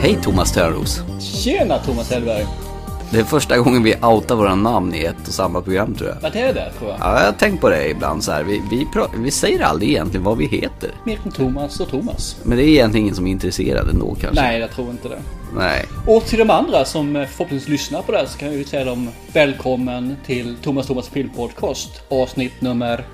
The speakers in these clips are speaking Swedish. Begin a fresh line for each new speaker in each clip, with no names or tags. Hej Thomas Törnros.
Tjena Thomas Hellberg!
Det är första gången vi outar våra namn i ett och samma program tror jag.
Vart är det tror jag?
Ja, jag har tänkt på det ibland så här. Vi, vi, pra- vi säger aldrig egentligen vad vi heter.
Mer än Thomas och Thomas.
Men det är egentligen ingen som är intresserad ändå kanske.
Nej, jag tror inte det.
Nej.
Och till de andra som eh, förhoppningsvis lyssnar på det här så kan vi ju säga dem välkommen till Thomas Thomas filmpodcast avsnitt nummer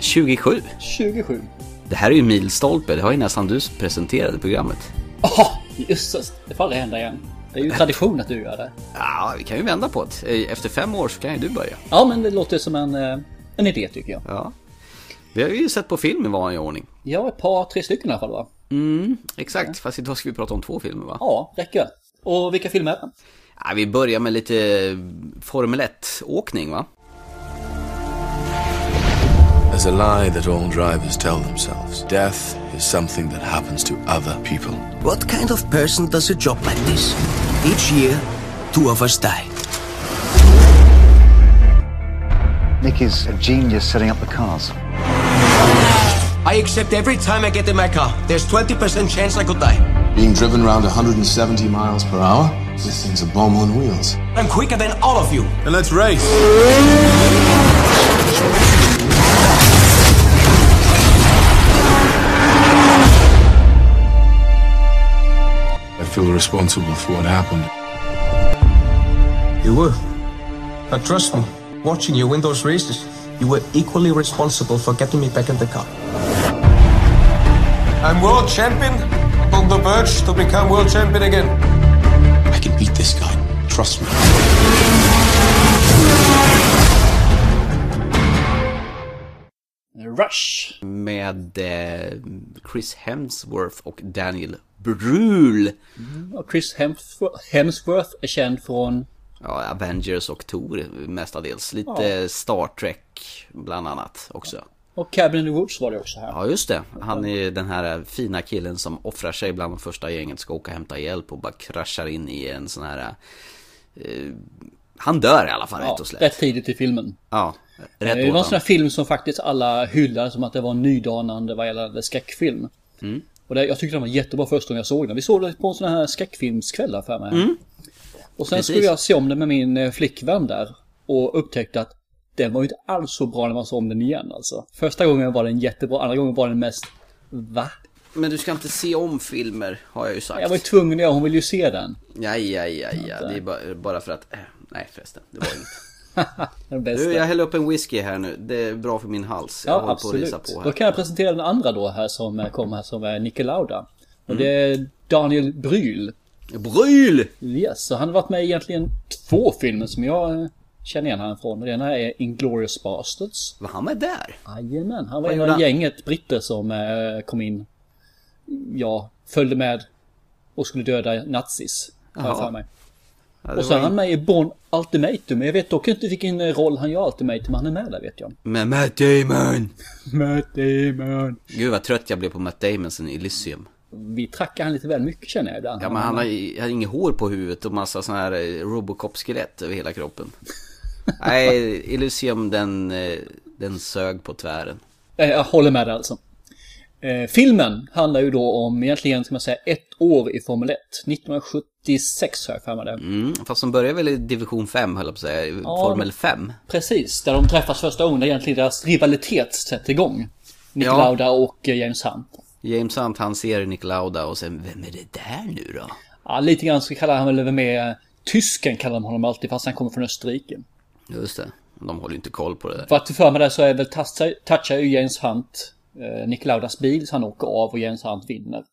27.
27.
Det här är ju milstolpe. Det har ju nästan du presenterat i programmet.
Åh, jösses! Det får aldrig hända igen. Det är ju tradition att du gör det.
Ja, vi kan ju vända på det. Eh, Efter fem år så kan ju du börja.
Ja, men det låter som en, eh, en idé tycker jag.
Ja. Vi har ju sett på film i vanlig ordning.
Ja, ett par, tre stycken i alla fall va?
Mm, exakt. Fast idag ska vi prata om två filmer va?
Ja, räcker. Och vilka filmer är det?
Ja, vi börjar med lite Formel 1-åkning va?
There's a lie that all drivers tell themselves. Death is something that happens to other people.
What kind of person does a job like this? Each year, two of us die.
Nicky's a genius setting up the cars.
I accept every time I get in my car. There's 20% chance I could die.
Being driven around 170 miles per hour? This thing's a bomb on wheels.
I'm quicker than all of you.
And let's race! I feel responsible for what happened.
You were. Now trust me, watching you win those races, you were equally responsible for getting me back in the car. I'm world champion, on the verge to become world champion again.
I can beat this guy. Trust me.
Rush!
Med eh, Chris Hemsworth och Daniel Brühl.
Och Chris Hemsworth, Hemsworth är känd från
Ja, Avengers och Thor mestadels. Lite Star Trek bland annat också.
Och Cabin in the Woods var det också här.
Ja, just det. Han är den här fina killen som offrar sig bland de första gänget, ska åka och hämta hjälp och bara kraschar in i en sån här... Eh, han dör i alla fall, rätt och slätt.
rätt tidigt i filmen.
Ja, rätt
det var en
åt
sån här
honom.
film som faktiskt alla hyllade som att det var en nydanande vad gäller skräckfilm.
Mm.
Och det, jag tyckte den var jättebra första gången jag såg den. Vi såg den på en sån här skräckfilmskväll här för mig. Och sen
Mm. Precis.
skulle jag se om den med min eh, flickvän där. Och upptäckte att den var ju inte alls så bra när man såg om den igen alltså. Första gången var den jättebra, andra gången var den mest Va?
Men du ska inte se om filmer, har jag ju sagt.
Jag var ju tvungen att göra, hon ville ju se den.
Nej, ja, ja, ja. Det är bara, bara för att... eh, Nej förresten, det var inget.
Den bästa.
Du, jag häller upp en whisky här nu. Det är bra för min hals. Jag
Ja,
håller på att
absolut.
risa på
Då
här.
kan jag presentera den andra då här som eh, kommer här som är Niki Lauda. Och det är Daniel Brühl.
Bryl!
Yes, så han har varit med i egentligen två filmer som jag eh, känner igen honom från. Den ena är Inglourious Basterds.
Var han med där?
Jajamän, han var
Vad
en av
gjorde han?
det gänget britter som eh, kom in. Ja, följde med och skulle döda nazis. har jag
Jaha.
för mig.
Ja, det
Och så
var
är han
in-
med i Born Ultimatum. Jag vet dock inte vilken eh, roll han gör i Ultimatum, han är med där vet jag.
Med Matt Damon!
Matt Damon.
Gud vad trött jag blev på Matt Damon sen i Elysium.
Vi trackar han lite väl mycket känner jag ibland.
Ja men han har, ju- han har inget hår på huvudet och massa sån här eh, Robocop-skelett över hela kroppen. Nej, Elysium den, eh, den sög på tvären.
Eh, Jag håller med dig alltså. Eh, filmen handlar ju då om egentligen, ska man säga, ett år i Formel 1. 1976 har jag för mig det.
Mm, fast de börjar väl i division 5 höll jag på att säga, i Formel 5.
Precis, där de träffas första gången, där egentligen deras rivalitet sätter igång. Nick
Ja.
Lauda och eh, James Hunt.
James Hunt han ser Nick Lauda och sen, vem är det där nu då?
Ja, lite grann så kallar han väl med eh, Tysken kallar de honom alltid, fast han kommer från Österrike.
Just det, de håller ju inte koll på det där.
För att du för mig det så är väl touchar, touchar ju James Hunt eh, Nick Laudas bil så han åker av och James Hunt vinner.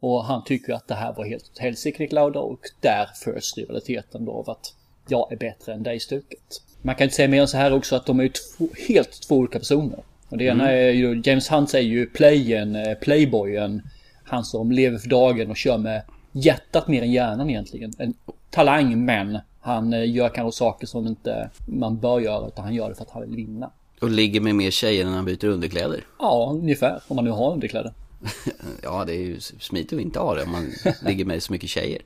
Och han tycker att det här var helt åt helsike Nick Lauda och där förs rivaliteten då av att jag är bättre än dig stuket. Man kan inte säga mer än så här också att de är ju två, helt två olika personer. Och det ena är ju, James Hunt är ju playen, eh, playboyen, han som lever för dagen och kör med hjärtat mer än hjärnan egentligen. En talang men han eh, gör kanske saker som inte man bör göra utan han gör det för att han vill vinna.
Och ligger med mer tjejer när han byter underkläder.
Ja, ungefär. Om man nu har underkläder.
Ja, det är ju smidigt att inte ha det om man ligger med så mycket tjejer.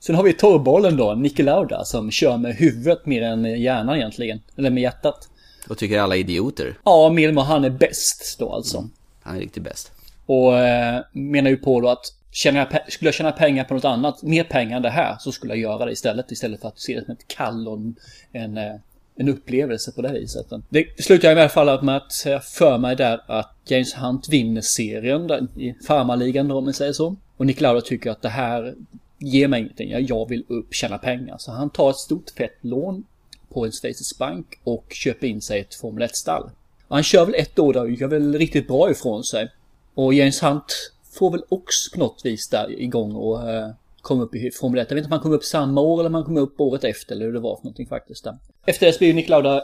Sen har vi torrbollen då, Niki Lauda, som kör med huvudet mer än hjärnan egentligen. Eller med hjärtat.
Och tycker alla är idioter.
Ja, Milmo han är bäst då alltså.
Han är riktigt bäst.
Och eh, menar ju på då att Tjänar jag, pe- skulle jag tjäna pengar på något annat, mer pengar än det här, så skulle jag göra det istället. Istället för att se det som ett kall och en, en, eh, en upplevelse på det här viset. Det slutar i alla fall med att jag för mig där att James Hunt vinner serien där, i farmarligan då, om man säger så. Och Nick Lauda tycker att det här ger mig ingenting. Jag- Jag vill upp, tjäna pengar. Så han tar ett stort fett lån på en schweizisk bank och köper in sig ett Formel 1-stall. Och Han kör väl ett år där och gör väl riktigt bra ifrån sig. Och James Hunt får väl också på något vis där igång och eh, kom upp i Formel 1. Jag vet inte om han kom upp samma år eller om han kom upp året efter eller hur det var för någonting faktiskt. Där. Efter det så blir ju Nick Lauda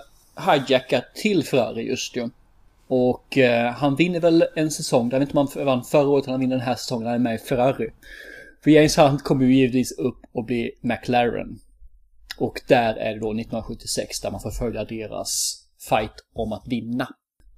hijackad till Ferrari just ju. Och eh, han vinner väl en säsong, jag vet inte om han vann förra året eller han vinner den här säsongen, när han är med i Ferrari. För James Hunt kommer ju givetvis upp och blir McLaren. Och där är det då 1976 där man får följa deras fight om att vinna.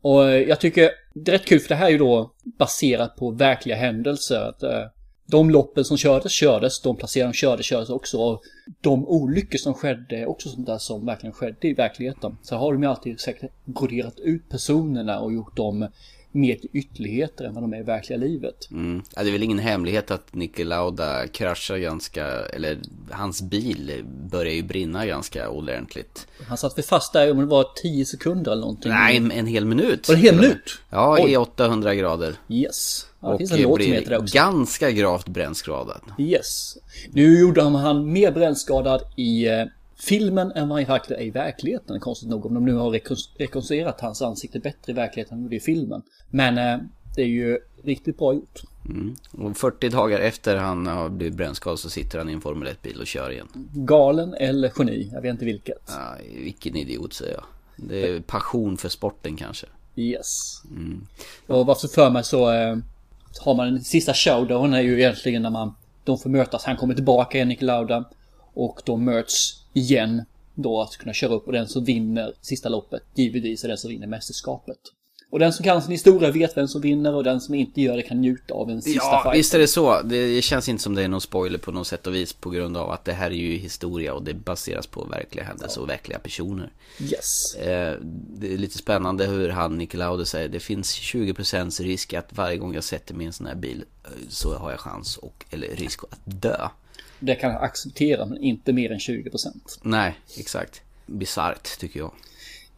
Och eh, jag tycker det är rätt kul för det här är ju då baserat på verkliga händelser. Att, eh, de loppen som kördes, kördes. De placeringar som kördes, kördes också. Och de olyckor som skedde, är också sånt där som verkligen skedde i verkligheten. Så har de ju alltid säkert broderat ut personerna och gjort dem mer till ytterligheter än vad de är i verkliga livet.
Mm. Ja, det är väl ingen hemlighet att Niki Lauda kraschar ganska, eller hans bil börjar ju brinna ganska ordentligt.
Han satt väl fast där om det var 10 sekunder eller någonting.
Nej, en, en hel minut.
Var det en hel
till och med.
minut?
Ja,
Oj.
i 800 grader.
Yes. Ja, det
och
finns en låt som heter det
blir
också.
ganska gravt brännskadad.
Yes. Nu gjorde han, han mer brännskadad i eh, filmen än vad han faktiskt är i verkligheten, konstigt nog. Om de nu har rekon- rekonstruerat hans ansikte bättre i verkligheten än vad det är i filmen. Men eh, det är ju riktigt bra gjort.
Och 40 dagar efter han har blivit brännskadad så sitter han i en Formel 1-bil och kör igen.
Galen eller geni, jag vet inte vilket.
Ja, vilken idiot säger jag. Det är passion för sporten kanske.
Yes. Och varför för mig så eh, har man den sista showdown är ju egentligen när man de får mötas. Han kommer tillbaka igen, Nick Lauda. Och de möts igen då att kunna köra upp och den som vinner sista loppet givetvis är den som vinner mästerskapet. Och den som kan sin historia vet vem som vinner och den som inte gör det kan njuta av en sista
Ja,
fight.
visst är det så. Det känns inte som det är någon spoiler på något sätt och vis på grund av att det här är ju historia och det baseras på verkliga händelser och verkliga personer.
Yes.
Eh, Det är lite spännande hur han, Nikolaude, säger det finns 20% risk att varje gång jag sätter mig i en sån här bil eh, så har jag chans och, eller risk att dö.
Det kan jag acceptera men inte mer än 20%.
Nej, exakt. Bisarrt tycker jag.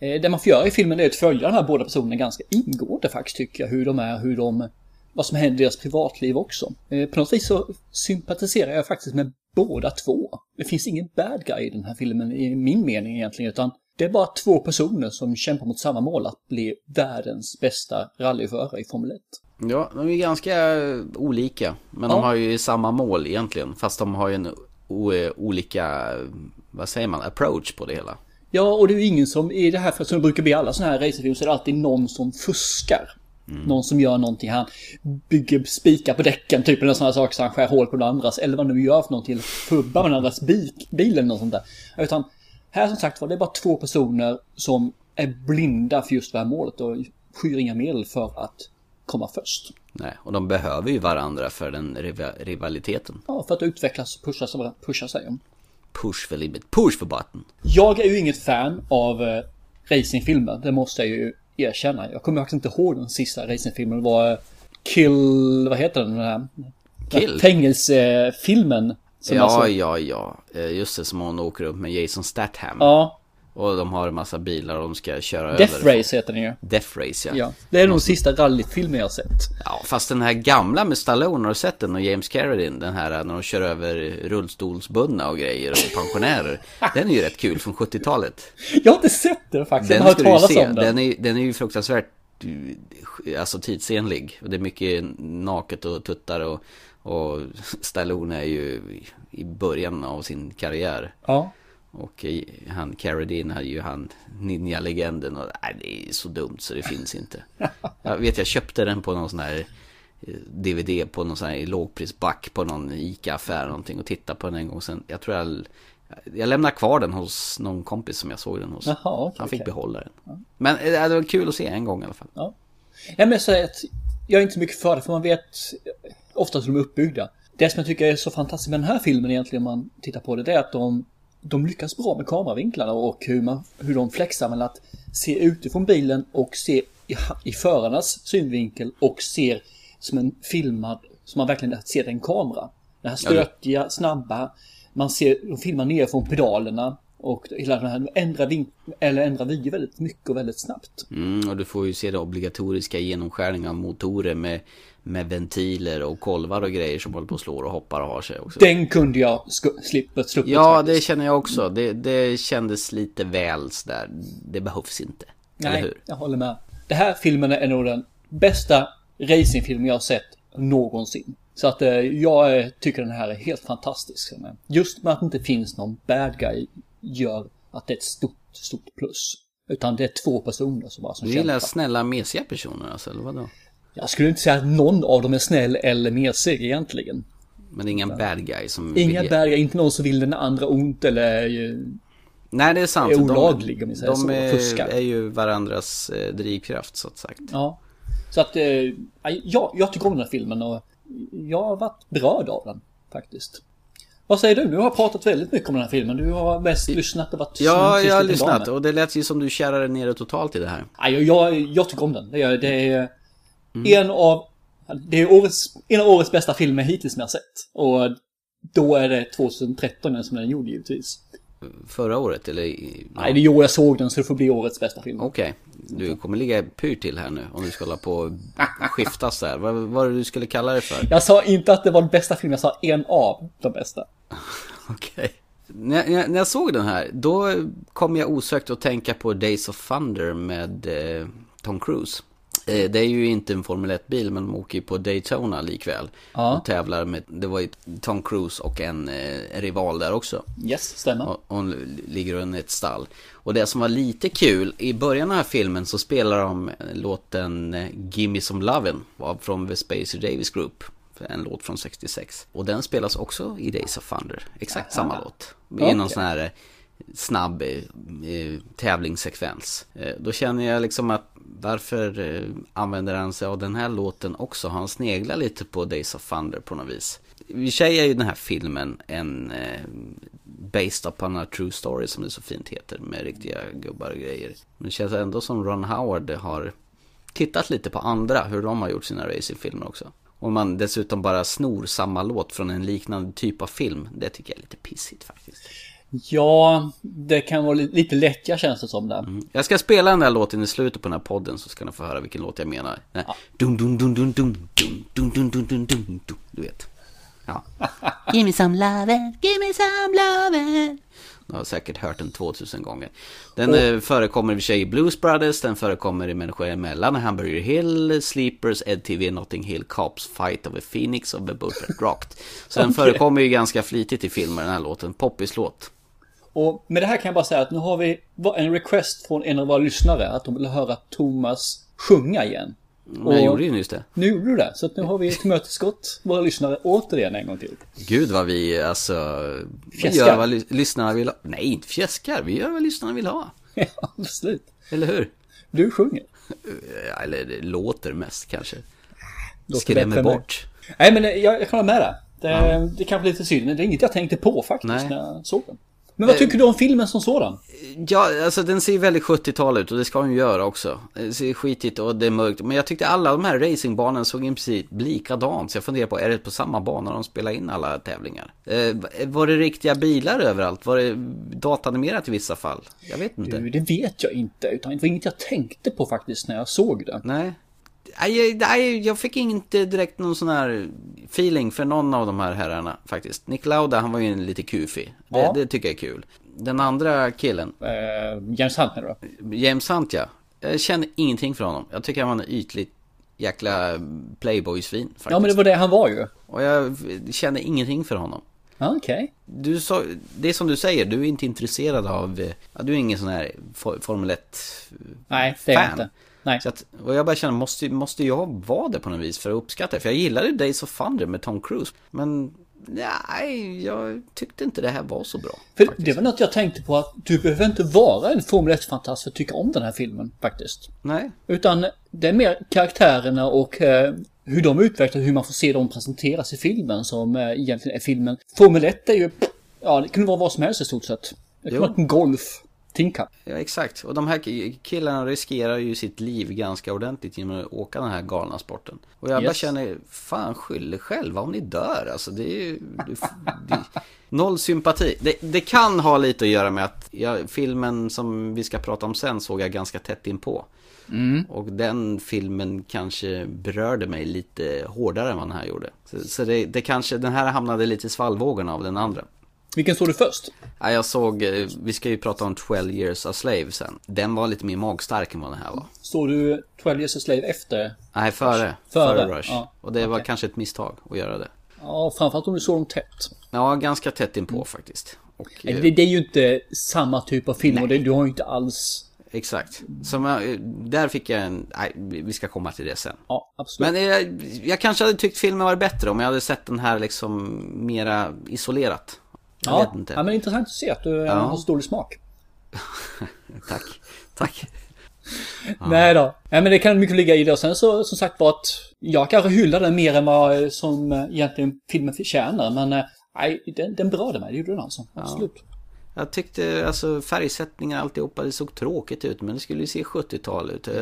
Eh, Det man får göra i filmen är att följa de här båda personerna ganska ingående faktiskt tycker jag. Hur de är, hur de... Vad som händer i deras privatliv också. Eh, På något vis så sympatiserar jag faktiskt med båda två. Det finns ingen bad guy i den här filmen i min mening egentligen utan det är bara två personer som kämpar mot samma mål att bli världens bästa rallyförare i Formel 1.
Ja, de är ganska eh, olika. Men de har ju samma mål egentligen. Fast de har ju en o- eh, olika, eh, vad säger man, approach på det hela.
Ja, och det är ju ingen som, i det här fallet som det brukar bli i alla sådana här racerfilmer, så är det alltid någon som fuskar. Någon som gör någonting, han bygger spikar på däcken typ, eller sådana saker, så han skär hål på den andras, eller vad han nu gör för någonting, eller fubbar med den andras bil, bil eller något sånt där. Utan, här som sagt var, det är bara två personer som är blinda för just det här målet och skyr inga medel för att komma först.
Nej, och de behöver ju varandra för den riva- rivaliteten.
Ja, för att utvecklas och pusha, sig- pusha sig.
Push for limit, push for button.
Jag är ju inget fan av eh, racingfilmer, det måste jag ju erkänna. Jag kommer faktiskt inte ihåg den sista racingfilmen. Det var eh, Kill... Vad heter den? den här?
Kill?
Fängelsefilmen. Som
ja,
alltså,
ja, ja. Eh, Just det, som hon åker upp med Jason Statham.
ja.
Och de har en massa bilar och de ska köra
Death
över.
Race heter den ju.
Death Race, ja.
Ja.
ja.
Det är nog sista rallyfilmen jag har sett.
Fast den här gamla med Stallone, har du sett den? Och James Carradine, den här när de kör över rullstolsbundna och grejer och pensionärer. den är ju rätt kul från 70-talet.
Jag har inte sett den faktiskt. jag
Den
har hört
ska du ju
talas
se.
om den.
Den är, den är ju fruktansvärt eh, alltså tidsenlig. Och Det är mycket naket och tuttar och, och Stallone är ju i början av sin karriär.
Ja.
Och eh, han Carradine hade ju han ninja-legenden och nej, det är så dumt så det finns inte. Jag vet jag köpte den på någon sån här eh, DVD på någon sån här lågprisback på någon ICA-affär eller någonting och tittade på den en gång sen. Jag tror jag, jag lämnade kvar den hos någon kompis som jag såg den hos.
Jaha, okej,
han fick
okej.
behålla den. Men eh, det var kul att se en gång i alla fall.
Ja, men jag säger att jag är inte så mycket för det, för man vet oftast hur de är uppbyggda. Det som jag tycker är så fantastiskt med den här filmen egentligen, om man tittar på det, det är att de, de lyckas bra med kameravinklarna och hur, man, hur de flexar mellan att se utifrån bilen och se i, ha- i förarnas synvinkel och ser som en filmad Så man verkligen ser en kamera. Det här stötiga, snabba. Man ser, de filmar ner från pedalerna. Och hela den här ändrar, vink, eller ändrar video väldigt mycket och väldigt snabbt.
Mm, och du får ju se det obligatoriska genomskärningen av motorer med, med ventiler och kolvar och grejer som håller på och slår och hoppar och har sig också.
Den kunde jag sku- slippa sluppit
Ja,
faktiskt.
det känner jag också. Det, det kändes lite väl sådär. Det behövs inte. Eller
Nej,
hur?
jag håller med. Det här filmen är nog den bästa racingfilmen jag har sett någonsin. Så att eh, jag eh, tycker den här är helt fantastisk. Men Just med att det inte finns någon bad guy gör att det är ett stort, stort plus. Utan det är två personer som bara som
Du gillar
kämpar.
snälla, mesiga personer alltså, eller vadå?
Jag skulle inte säga att någon av dem är snäll eller mesig egentligen.
Men det är inga bad guys som
Inga
vill-
bad guy, inte någon som vill den andra ont eller... eh,
Nej, det är sant.
är olaglig, om vi säger
de
så, och
är,
fuskar.
är ju varandras eh, drivkraft, så att sagt.
Ja. Så att eh, jag, jag tycker om den här filmen och jag har varit berörd av den faktiskt. Vad säger du? Du har pratat väldigt mycket om den här filmen. Du har mest lyssnat och varit
Ja,
tyst
jag har
liten
lyssnat
dam.
och det lät ju som du kärrade ner det totalt i det här.
Nej, jag, jag, jag tycker om den. Det är, det är
Mm.
en av det är årets, en av årets bästa filmer hittills som jag har sett. Och då är det 2013 som den gjorde givetvis.
Förra året, eller? i- ja.
Nej, det är i år jag såg den så det får bli årets bästa film.
Okej, du kommer ligga pyr till här nu om du ska hålla på och skiftas där. Vad vad var det du skulle kalla det för?
Jag sa inte att det var den bästa filmen, jag sa en av de bästa.
Okej. När, när, när jag såg den här, då kom jag osökt att tänka på Days of Thunder med eh, Tom Cruise. Eh, det är ju inte en Formel 1-bil, men de åker ju på Daytona likväl.
Ja.
Och tävlar med, det var ju Tom Cruise och en eh, rival där också.
Yes, stämmer.
Och hon ligger under ett stall. Och det som var lite kul, i början av den här filmen så spelar de låten eh, Gimme Some Lovin' av- från The Space Davis Group. En låt från 66. Och den spelas också i Days of Thunder. Exakt samma låt. I någon
Okej.
sån här eh, snabb eh, eh, tävlingssekvens. Eh, Då känner jag liksom att varför eh, använder han sig av den här låten också? Han sneglar lite på Days of Thunder på något vis. I och för sig är ju den här filmen en eh, Based upon a true story som det så fint heter med riktiga gubbar och grejer. Men det känns ändå som Ron Howard har tittat lite på andra, hur de har gjort sina racingfilmer också. Om man dessutom bara snor samma låt från en liknande typ av film, det tycker jag är lite pissigt faktiskt.
Ja, det kan vara li- lite lättja känns det som där.
Jag ska spela den där låten i slutet på den här podden så ska ni få höra vilken låt jag menar. Den här, Dum dum dum dum dum dum dum dum dum dum dum dum. Du vet. Ja. give me some lovin', give me some lovin'. Du har säkert hört den 2000 gånger. Den eh, förekommer i och för sig i Blues Brothers, den förekommer i Människor emellan, Hamburger Hill, Sleepers, Ed TV, Notting Hill, Cops, Fight of a Phoenix och The Bullet Rocked. Så den förekommer ju ganska flitigt i filmer den här låten, poppislåt.
Och med det här kan jag bara säga att nu har vi va- en request från en av våra lyssnare att de vill höra Thomas sjunga igen.
Mm, Men jag
Och-
gjorde ju nyss det.
Nu gjorde du det, så att nu har vi tillmötesgått våra lyssnare återigen en gång till.
Gud vad vi alltså... Vi
Fjäskar.
gör vad ly- lyssnarna vill ha. Nej, inte fjäskar. Vi gör vad lyssnarna vill ha.
Ja, Absolut.
Eller hur?
Du sjunger.
Ja, Eller det låter mest kanske.
Låter bättre
Skrämmer
än mig.
bort.
Nej, men eh, jag, jag kan hålla med dig. Det, det är kanske lite synd, men det är inget jag tänkte på faktiskt
Nej. Eh,
när jag såg den. Men vad tycker du om filmen som sådan?
Ja, alltså den ser ju väldigt 70-tal ut och det ska den ju göra också. Det ser skitigt och det är mörkt. Men jag tyckte alla de här racingbanorna såg i princip likadant. Så jag funderar på, är det på samma bana de spelar in alla tävlingar? Eh, var det riktiga bilar överallt? Var det datanimerat i vissa fall? Jag vet inte.
Du, det vet jag inte, utan det var inget jag tänkte på faktiskt när jag såg den.
Nej. Nej, jag- nej, jag fick inte direkt någon sån här feeling för någon av de här herrarna faktiskt. Nick Lauda, han var ju en lite kufig. Det,
Ja.
det tycker jag är kul. Den andra killen,
Eh, James Hunt menar du?
James Hunt ja. Jag känner ingenting för honom. Jag tycker han var en ytlig jäkla playboy-svin faktiskt.
Ja, men det var det han var ju.
Och jag känner ingenting för honom.
Ja, Okej.
Du sa, det är som du säger, du är inte intresserad av, eh, ja, du är ingen sån här for- Formel 1
Nej, det är jag
fan.
inte. Nej.
Så att, och jag bara känner, måste, måste jag vara det på något vis för att uppskatta det? För jag gillade Days of Thunder med Tom Cruise. Men nej, jag tyckte inte det här var så bra.
För det var något jag tänkte på att du behöver inte vara en Formel 1-fantast för att tycka om den här filmen faktiskt.
Nej.
Utan det är mer karaktärerna och eh, hur de utvecklas, hur man får se dem presenteras i filmen som eh, egentligen är filmen. Formel 1 är ju, ja det kunde vara vad som helst i stort sett. Det kunde
Jo.
vara en golf. Tin Cup.
Ja, exakt. Och de här ki- killarna riskerar ju sitt liv ganska ordentligt genom att åka den här galna sporten. Och jag bara
Yes.
känner, fan skyll er själva om ni dör alltså. Det är ju... Det, det, noll sympati. Det, det kan ha lite att göra med att jag, filmen som vi ska prata om sen såg jag ganska tätt inpå. Och den filmen kanske berörde mig lite hårdare än vad den här gjorde. Så, så det, det kanske, den här hamnade lite i svallvågorna av den andra.
Vilken såg du först?
Ja, jag såg, eh, vi ska ju prata om 12 years a slave sen. Den var lite mer magstark än vad den här var.
Såg du 12 years a slave efter?
Nej, före.
Före,
Rush.
ja.
Och det var kanske ett misstag att göra det.
Ja, framförallt om du såg dem tätt.
Ja, ganska tätt inpå faktiskt. Och, eh,
Eller Det, det Mm. är ju inte samma typ av film och det, du har ju inte alls...
Exakt. Som jag, eh, där fick jag en, nej, vi vi ska komma till det sen.
Ja, absolut.
Men eh, jag, jag kanske hade tyckt filmen var bättre om jag hade sett den här liksom mera isolerat. Jag
ja,
vet inte.
ja, men intressant att se att du har så dålig smak.
Tack. Tack.
Nej då. Nej, men det kan mycket ligga i det. Och sen så, som sagt var att jag kanske hyllar den mer än vad eh, som eh, egentligen filmen förtjänar. Men eh, nej, den, den berörde mig. Det gjorde den alltså. Absolut.
Jag tyckte alltså färgsättningen och alltihopa det såg tråkigt ut men det skulle ju se 70-tal ut. Eh,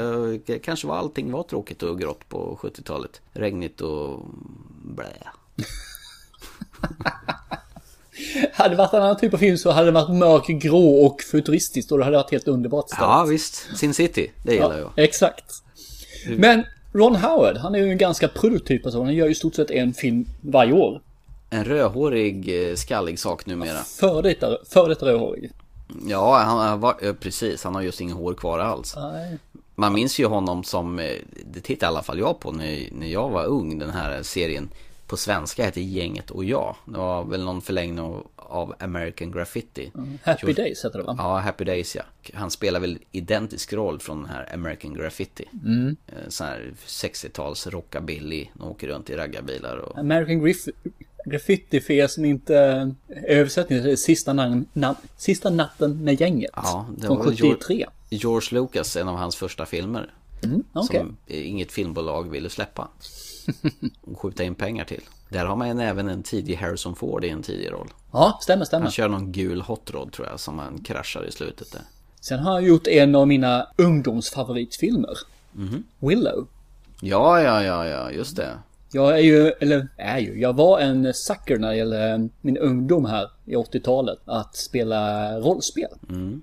k- Kanske var allting var tråkigt och grått på 70-talet. Regnigt och blä.
Hade det varit en annan typ av film så hade den varit mörkgrå och futuristisk och det hade varit helt underbart istället.
Ja visst, Sin City, det gillar jag.
Exakt. Men Ron Howard, han är ju en ganska produktiv person. Han gör ju i stort sett en film varje år.
En rödhårig eh, skallig sak numera.
Före detta, före detta rödhårig.
Ja, han han var, eh, precis, han har just inget hår kvar alls.
Nej.
Man minns ju honom som, eh, det tittade i alla fall jag på när, när jag var ung, den här serien på svenska hette Gänget och jag. Det var väl någon förlängning av- av American Graffiti.
Happy Days heter det va?
Ja, Happy Days ja. Han spelar väl identisk roll från den här American Graffiti.
Mm.
Eh, Sån här 60-tals rockabilly. De åker runt i raggarbilar och...
American Griff Graffiti för er som inte eh, översättning, det är sista, namn, namn, sista natten med gänget.
Ja, det
från
var väl
73.
George Lucas, en av hans första filmer.
Mm, Okej.
Som eh, inget filmbolag ville släppa. Och skjuta in pengar till. Där har man även en tidig Harrison Ford i en tidig roll.
Ja, stämmer, stämmer.
Han kör någon gul hot rod tror jag som han kraschar i slutet där.
Sen har jag gjort en av mina ungdomsfavoritfilmer.
Mhm.
Willow.
Ja, ja, ja, ja, just det.
Jag är ju, eller är ju, jag var en sucker när det gäller eh, min ungdom här i 80-talet att spela rollspel.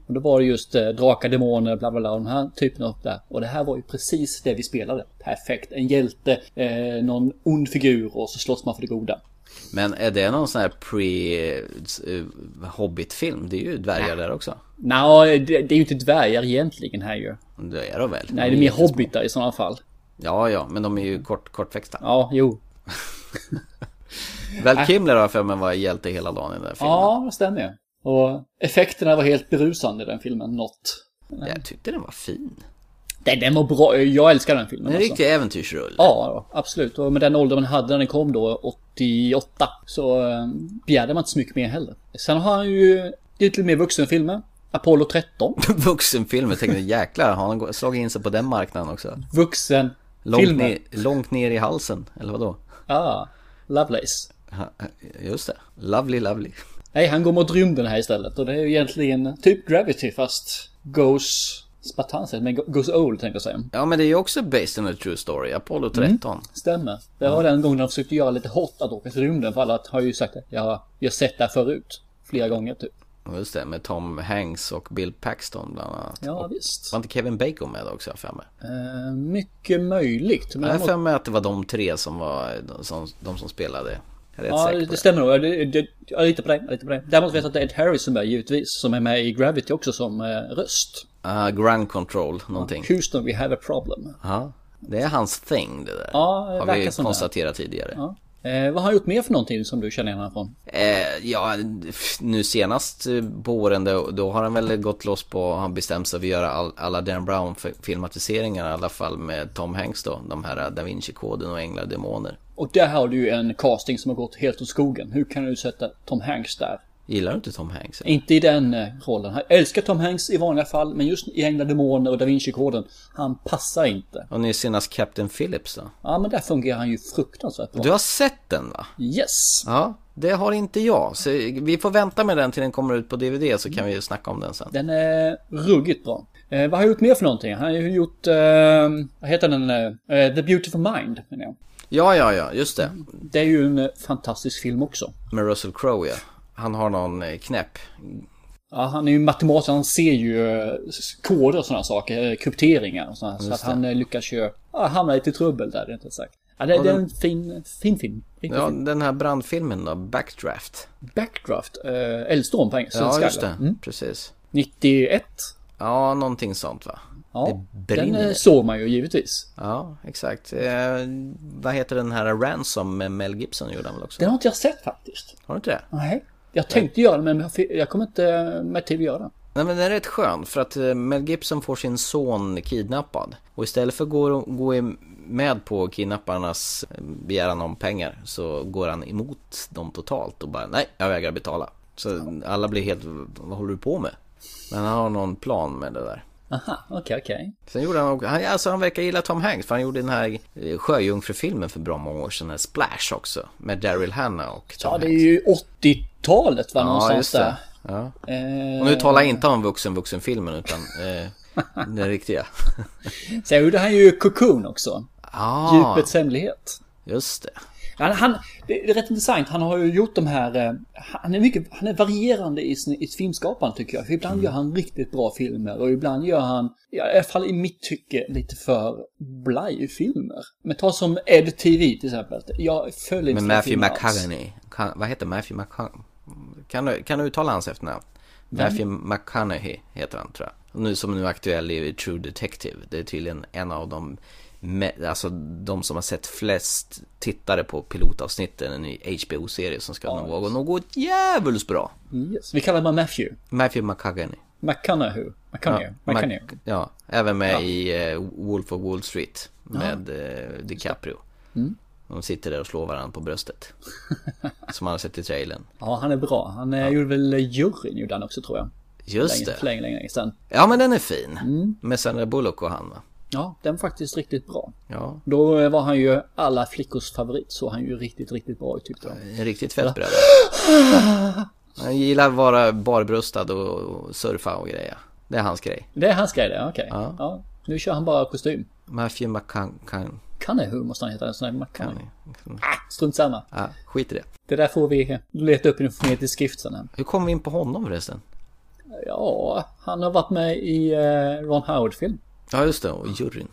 Och då var det just eh, drakar, demoner, bla bla bla, de här typen av där. Och det här var ju precis det vi spelade. Perfekt, en hjälte, eh, någon ond figur och så slåss man för det goda.
Men är det någon sån här pre-hobbit-film? Det är ju dvärgar där också.
Nej, det, det är ju inte dvärgar egentligen här ju.
Det är de väl?
Nej, det är mer hobbitar i sådana fall.
Ja, ja, men de är ju kort, kortväxta.
Ja, jo.
Val Kimler har jag för mig var hjälte hela dagen i den där filmen.
Ja, det stämmer ju. Och effekterna var helt berusande i den filmen, något.
Jag tyckte den var fin.
Alltså. Den, den var bra, jag älskar den filmen.
En
alltså.
riktig äventyrsrulle.
Ja, absolut. Och med den ålder man hade när den kom då, 88, så eh, begärde man inte så mycket mer heller. Sen har han ju lite mer vuxenfilmer. Apollo 13.
Vuxenfilmer, jag tänkte jäklar, har han gå- slagit in sig på den marknaden också? Långt
Vuxenfilmer.
ner, långt ner i halsen, eller vadå?
Ja, Lovelace.
Ha- Just det, lovely lovely.
Nej, han går mot rymden här istället. Och det är ju egentligen typ Gravity fast goes... Spartanset, men go- goes old tänkte jag säga.
Ja men det är ju också based on a true story,
Mm.
Apollo 13.
Stämmer. Det var den gången de försökte göra lite hårt att åka till rymden. För alla har ju sagt det. Jag, jag har sett det här förut. Flera gånger typ.
Just det, med Tom Hanks och Bill Paxton bland annat.
Ja,
och,
visst.
var inte Kevin Bacon med också, har jag för mig?
Eh, mycket möjligt. Men
Jag har
däremot-
för mig att det var de tre som var de som, de som spelade. Jag är rätt
Ja,
säker
det,
på
det stämmer nog. Jag, det- det- jag litar på dig. Jag litar på dig. Däremot vet jag att det är Ed Harris som är givetvis, som är med i Gravity också som eh, röst.
Ah, ground control, någonting.
Houston, we have a problem.
Ja, det är hans thing det där.
Ja, det
Har
verkar
vi
som det.
konstaterat tidigare. Ja.
Eh, vad har han gjort mer för någonting som du känner igen honom från?
Eh, ja, f- nu senast eh, på åren då, då har han väl gått loss på, han bestämt sig för att göra all, alla Dan Brown f- filmatiseringar i alla fall med Tom Hanks då. De här eh, Da Vinci-koden och Änglar och Demoner.
Och där har du ju en casting som har gått helt åt skogen. Hur kan du sätta Tom Hanks där?
Gillar du inte Tom Hanks?
Inte i den eh, rollen. Han jag älskar Tom Hanks i vanliga fall, men just i Änglar, Demoner och Da Vinci-koden, han passar inte.
Och nu senast Captain Phillips då?
Ja, men där fungerar han ju fruktansvärt bra.
Du har sett den va?
Yes!
Ja, det har inte jag. Så vi får vänta med den till den kommer ut på DVD så kan vi ju snacka om den sen.
Den är ruggigt bra. Eh, vad har han gjort mer för någonting? Han har ju gjort, eh, vad heter den, eh, eh, The Beautiful Mind, menar jag.
Ja, ja, ja, just det.
Det är ju en eh, fantastisk film också.
Med Russell Crowe ja. Han har någon eh, knäpp.
Ja, han är ju matematiker, han ser ju eh, s- koder och sådana saker, eh, krypteringar och sådana, så att han eh, lyckas ju ja, hamna lite i trubbel där, rent ut sagt. Ja, det, det är en fin, fin film. Riktigt
Ja,
fin.
den här brandfilmen då, Backdraft.
Backdraft, eh, Eldstorm på engelska.
Ja,
svenska,
just det.
eller? Mm.
Precis.
91.
Ja, någonting sånt va?
Ja,
Det
den
brinner.
eh, såg man ju givetvis.
Ja, exakt. Eh, vad heter den här Ransom med Mel Gibson gjorde han väl också?
Den har inte jag sett faktiskt.
Har du inte det?
Nej. Jag tänkte göra den, men jag fi- jag kommer inte med till att göra den.
Nej men den är rätt skön för att eh, Mel Gibson får sin son kidnappad. Och istället för att gå, gå i- med på kidnapparnas eh, begäran om pengar så går han emot dem totalt och bara nej, jag vägrar betala. Så alla blir helt, vad håller du på med? Men han har någon plan med det där.
Aha, okej, okej.
Sen gjorde han också, han, alltså han verkar gilla Tom Hanks för han gjorde den här eh, Sjöjungfrufilmen för bra många år sedan, den här Splash också. Med Daryl Hannah och Tom
Ja, det är
Hanks.
ju 80-talet va,
Ja,
någonstans
just
där.
det. Ja.
Eh,
Och nu talar jag inte om vuxen-vuxenfilmen utan eh, den riktiga.
Sen gjorde han ju Cocoon också.
Ja,
Djupets hemlighet.
Ah, just det.
Han, han, det är rätt intressant. Han har ju gjort de här... eh, Han är, mycket, han är varierande i, sin, i filmskapande tycker jag. För ibland
Mm.
gör han riktigt bra filmer och ibland gör han, ja, i alla fall i mitt tycke, lite för blajfilmer. Men ta som Ed TV till exempel. Jag följer inte
Med
den
Matthew
filmen alls.
McConaughey. Kan- Vad heter Matthew McConaughey? Kan du, kan du uttala hans efternamn? Matthew McConaughey heter han tror jag. Och Nu som nu är aktuell är ju True Detective. Det är tydligen en av de, me- alltså de som har sett flest tittare på pilotavsnitten. En ny HBO-serie som ska nå något, något djävulskt bå bra.
Yes. Vi kallar honom Matthew.
Matthew McConaughey.
McConaughey. McConaughey. McConaughey.
Mac- ja, även med i eh, Wolf of Wall Street med eh, DiCaprio. De sitter där och slår varandra på bröstet. som man har sett i trailern.
Ja, han är bra. Han eh, gjorde väl juryn gjorde han också tror jag.
Just
Länge,
det.
länge, länge, länge sedan.
Ja men den är fin. Med Sandra Bullock och han va?
Ja, den var faktiskt riktigt bra.
Ja,
Då eh, var han ju alla flickors favorit, så han ju riktigt, riktigt bra ut tyckte de.
en riktigt fett bröd. Han gillar att vara barbröstad och- och surfa och greja. Det är hans grej.
Det är hans grej det, okej.
Ja.
Ja, nu kör han bara kostym.
Matthew McConaughey.
Kannehu måste han heta, en sån där McCann.
Ah.
Strunt samma.
Ja, skit i det.
Det där får vi eh, leta upp i en fonetisk skrift sen. här.
Hur kom vi in på honom förresten?
Ja, han har varit med i eh, Ron Howard-film.
Ja just det, och juryn.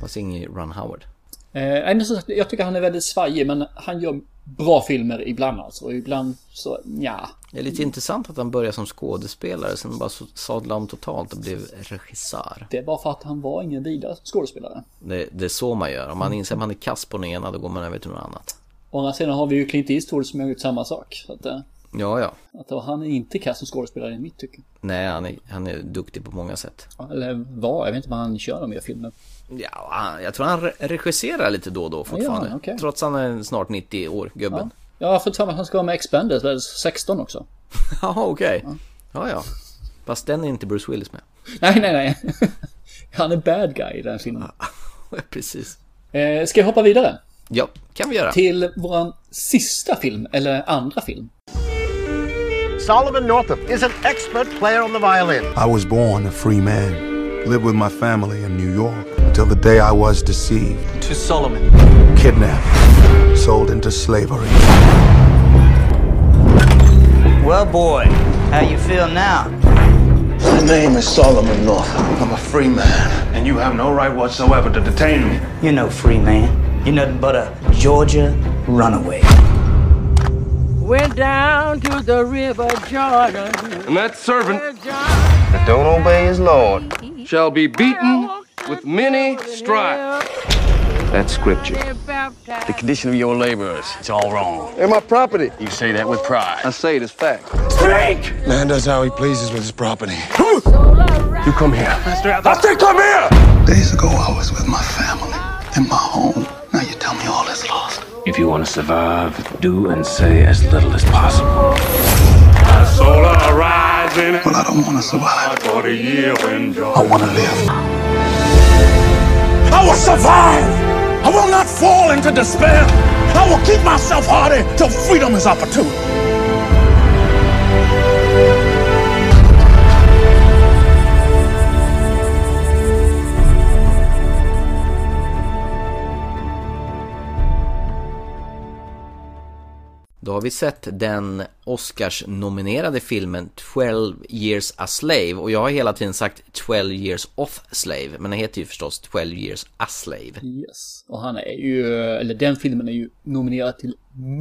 Fast ingen Ron Howard.
Eh, nej, men som sagt, jag tycker han är väldigt svajig, men han gör bra filmer ibland alltså. Och ibland så, ja.
Det är lite intressant att han började som skådespelare, sen bara så- sadlade om totalt och blev regissör.
Det var för att han var ingen vidare skådespelare.
Det, det är så man gör. Om man inser att man är kass på den ena, då går man över till något annat.
Å andra sidan har vi ju Clint Eastwood som har gjort samma sak. Så att, eh,
Ja, ja.
att han är inte kass som skådespelare i mitt tycke.
Nej, han är, han är duktig på många sätt.
Eller var, jag vet inte vad han kör med i filmen.
Ja, han, jag tror han re- regisserar lite då och då fortfarande.
Ja, okej.
Trots att han är snart 90 år, gubben.
Jag har fått för mig att han ska vara med i Expanders, eller 16 också.
Ja, okej. Ja, ja. Fast den är inte Bruce Willis med.
Nej, nej, nej. Han är bad guy i den filmen.
Precis.
Eh, ska jag hoppa vidare?
Ja, kan vi göra.
Till våran sista film, eller andra film.
Solomon Northup is an expert player on the violin.
I was born a free man, lived with my family in New York until the day I was deceived,
To Solomon.
kidnapped, sold into slavery.
Well, boy, how you feel now?
My name is Solomon Northup. I'm a free man.
and you have no right whatsoever to detain me.
You're no free man. You're nothing but a Georgia runaway.
Went down to the river Jordan.
And that servant
That don't obey his Lord
shall be beaten with many stripes.
That's scripture.
The condition of your laborers, it's all wrong. And my property. You say that with pride. I say it as fact.
Man does how he pleases with his property.
You come here. I say come here!
Days ago, I was with my family in my home. Now you tell me all is lost.
If you want to survive, do and say as little as possible. Solar rising.
Well, I don't want to survive.
For the year when
I want to live.
I will survive. I will not fall into despair. I will keep myself hardy till freedom is opportune.
Då har vi sett den Oscars-nominerade filmen 12 years a slave och jag har hela tiden sagt 12 years off slave men den heter ju förstås 12 years a slave.
Yes. Och han är ju, eller den filmen är ju nominerad till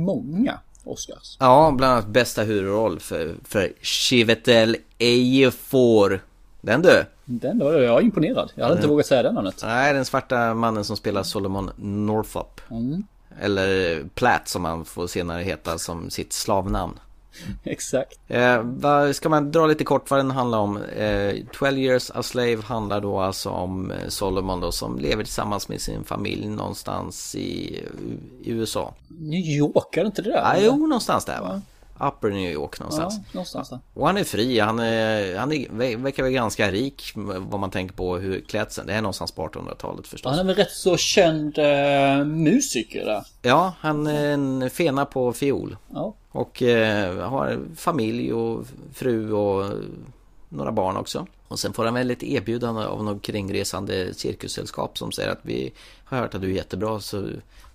många Oscars.
Ja, bland annat bästa huvudroll för, för Chiwetel Ejiofor. Den du!
Den var jag är imponerad. Jag hade inte vågat säga det namnet.
Nej, den svarta mannen som spelar Solomon Northup.
Mm.
Eller Platt som han får senare heta som sitt slavnamn.
Exakt.
Eh, vad- ska man dra lite kort vad den handlar om? Eh, 12 years a slave handlar då alltså om eh, Solomon då som lever tillsammans med sin familj någonstans i, i USA.
New York, är det inte det där?
Ah, jo, någonstans där va? Upper New York
Ja,
någonstans.
någonstans där.
Och han är fri, han, är, han är, ver- verkar vara ganska rik vad man tänker på hur klädseln, det här är någonstans på 1800-talet förstås.
Han är väl rätt så känd eh, musiker där.
Ja, han är en fena på fiol.
Ja.
Och eh, har familj och fru och några barn också. Och sen får han väl ett erbjudande av något kringresande cirkussällskap som säger att vi har hört att du är jättebra så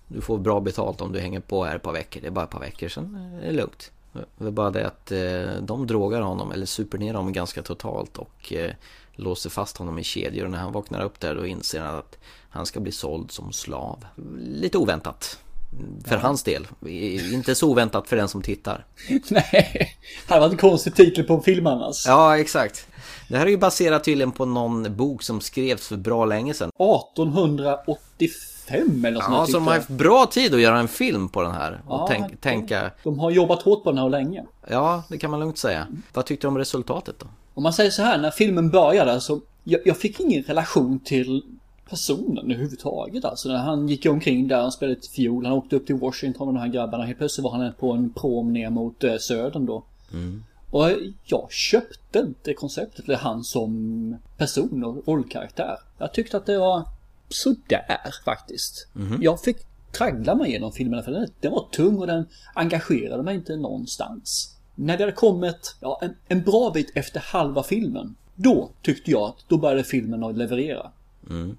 du får bra betalt om du hänger på här ett par veckor. Det är bara ett par veckor, sen är det lugnt. Det är bara det att eh, de drogar honom eller super ner honom ganska totalt och eh, låser fast honom i kedjor. Och när han vaknar upp där då inser han att han ska bli såld som slav. Lite oväntat. För hans del. I- Inte så oväntat för den som tittar.
Nej, han var en konstig titel på en film annars.
Ja, exakt. Det här är ju baserat tydligen på någon bok som skrevs för bra länge sedan.
1885 eller något
Ja,
sånt
som har haft bra tid att göra en film på den här. Och
Ja,
tänk,
verkligen.
tänka,
De har jobbat hårt på den här länge.
ja, det kan man lugnt säga. Vad tyckte du om resultatet då?
Om man säger så här, när filmen började så jag, jag fick ingen relation till personen överhuvudtaget. Alltså när han gick omkring där, han spelade ett fiol, han åkte upp till Washington med de här grabbarna. Helt plötsligt var han på en prom ner mot eh, södern då. Och jag köpte inte konceptet, eller han som person och rollkaraktär. Jag tyckte att det var sådär faktiskt. Jag fick traggla mig igenom filmen för den, den var tung och den engagerade mig inte någonstans. När vi hade kommit ja, en, en bra bit efter halva filmen, då tyckte jag att då började filmen att leverera.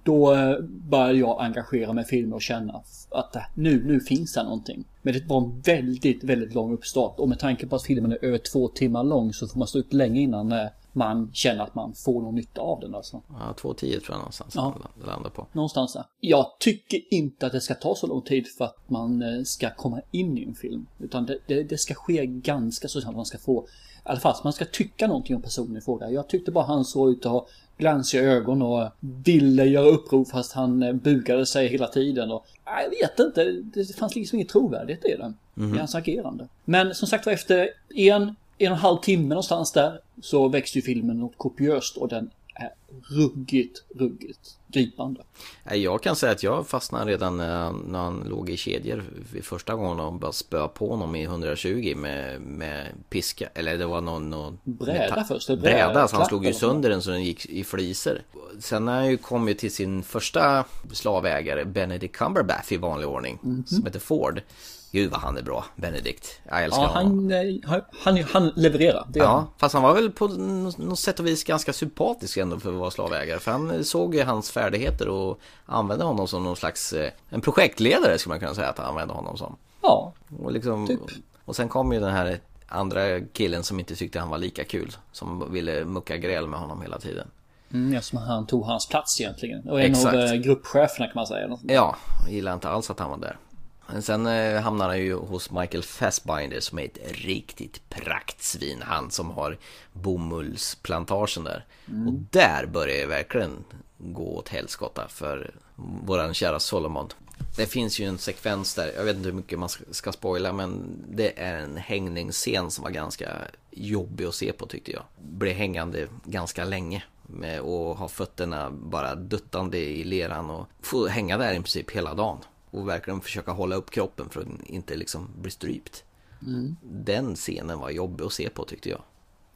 Då eh, började jag engagera mig i filmen och känna f- att eh, nu, nu finns det någonting. Men det var en väldigt, väldigt lång uppstart och med tanke på att filmen är över två timmar lång så får man stå ut länge innan eh, man känner att man får någon nytta av den alltså.
Ja, 2.10 tror jag någonstans
Ja.
det landar på.
Någonstans där. Jag tycker inte att det ska ta så lång tid för att man eh, ska komma in i en film. Utan det, det, det ska ske ganska så snabbt man ska få... I alla fall, man ska tycka någonting om personen i fråga. Jag tyckte bara han såg ut att ha glansiga ögon och ville göra uppror fast han eh, bugade sig hela tiden. Och, Nej, jag vet inte, det fanns liksom inget trovärdigt i den. I hans agerande. Men som sagt var, efter en, en och en halv timme någonstans där så växte ju filmen något kopiöst och den är ruggigt, ruggigt gripande.
Nej, Jag kan säga att jag fastnade redan när han, när han låg i kedjor vid första gången och bara spöade på honom i 120 med, med piska. Eller det var någon... någon
Bräda först, eller bräda,
Bräda, så han
klapp
slog ju
eller något.
sönder den så den gick i fliser. Sen när han ju kom ju till sin första slavägare, Benedict Cumberbatch i vanlig ordning,
Mhm.
som heter Ford. Gud vad han är bra, Benedict. Jag älskar
Ja,
honom.
han, eh, han- han, han levererar. Det gör han.
Ja, fast han var väl på nå- något sätt och vis ganska sympatisk ändå för att vara slavägare. För han såg ju hans färdigheter och använde honom som någon slags, eh, en projektledare skulle man kunna säga att han använde honom som.
ja.
Och, liksom,
Typ.
och sen kom ju den här andra killen som inte tyckte han var lika kul. Som ville mucka gräl med honom hela tiden.
Mm, eftersom han tog hans plats egentligen. Och en
Exakt.
av eh, gruppcheferna kan man säga. Något sånt.
Ja, jag gillar inte alls att han var där. Men sen eh, hamnar han ju hos Michael Fassbinder som är ett riktigt praktsvin. Han som har bomullsplantagen där. Och där börjar det verkligen gå åt helskotta för våran kära Solomon. Det finns ju en sekvens där, jag vet inte hur mycket man ska- ska spoila men det är en hängningsscen som var ganska jobbig att se på tyckte jag. Blev hängande ganska länge med, och ha fötterna bara duttande i leran och få hänga där i princip hela dagen. Och verkligen försöka hålla upp kroppen för att inte liksom bli strypt.
Mm.
Den scenen var jobbig att se på tyckte jag.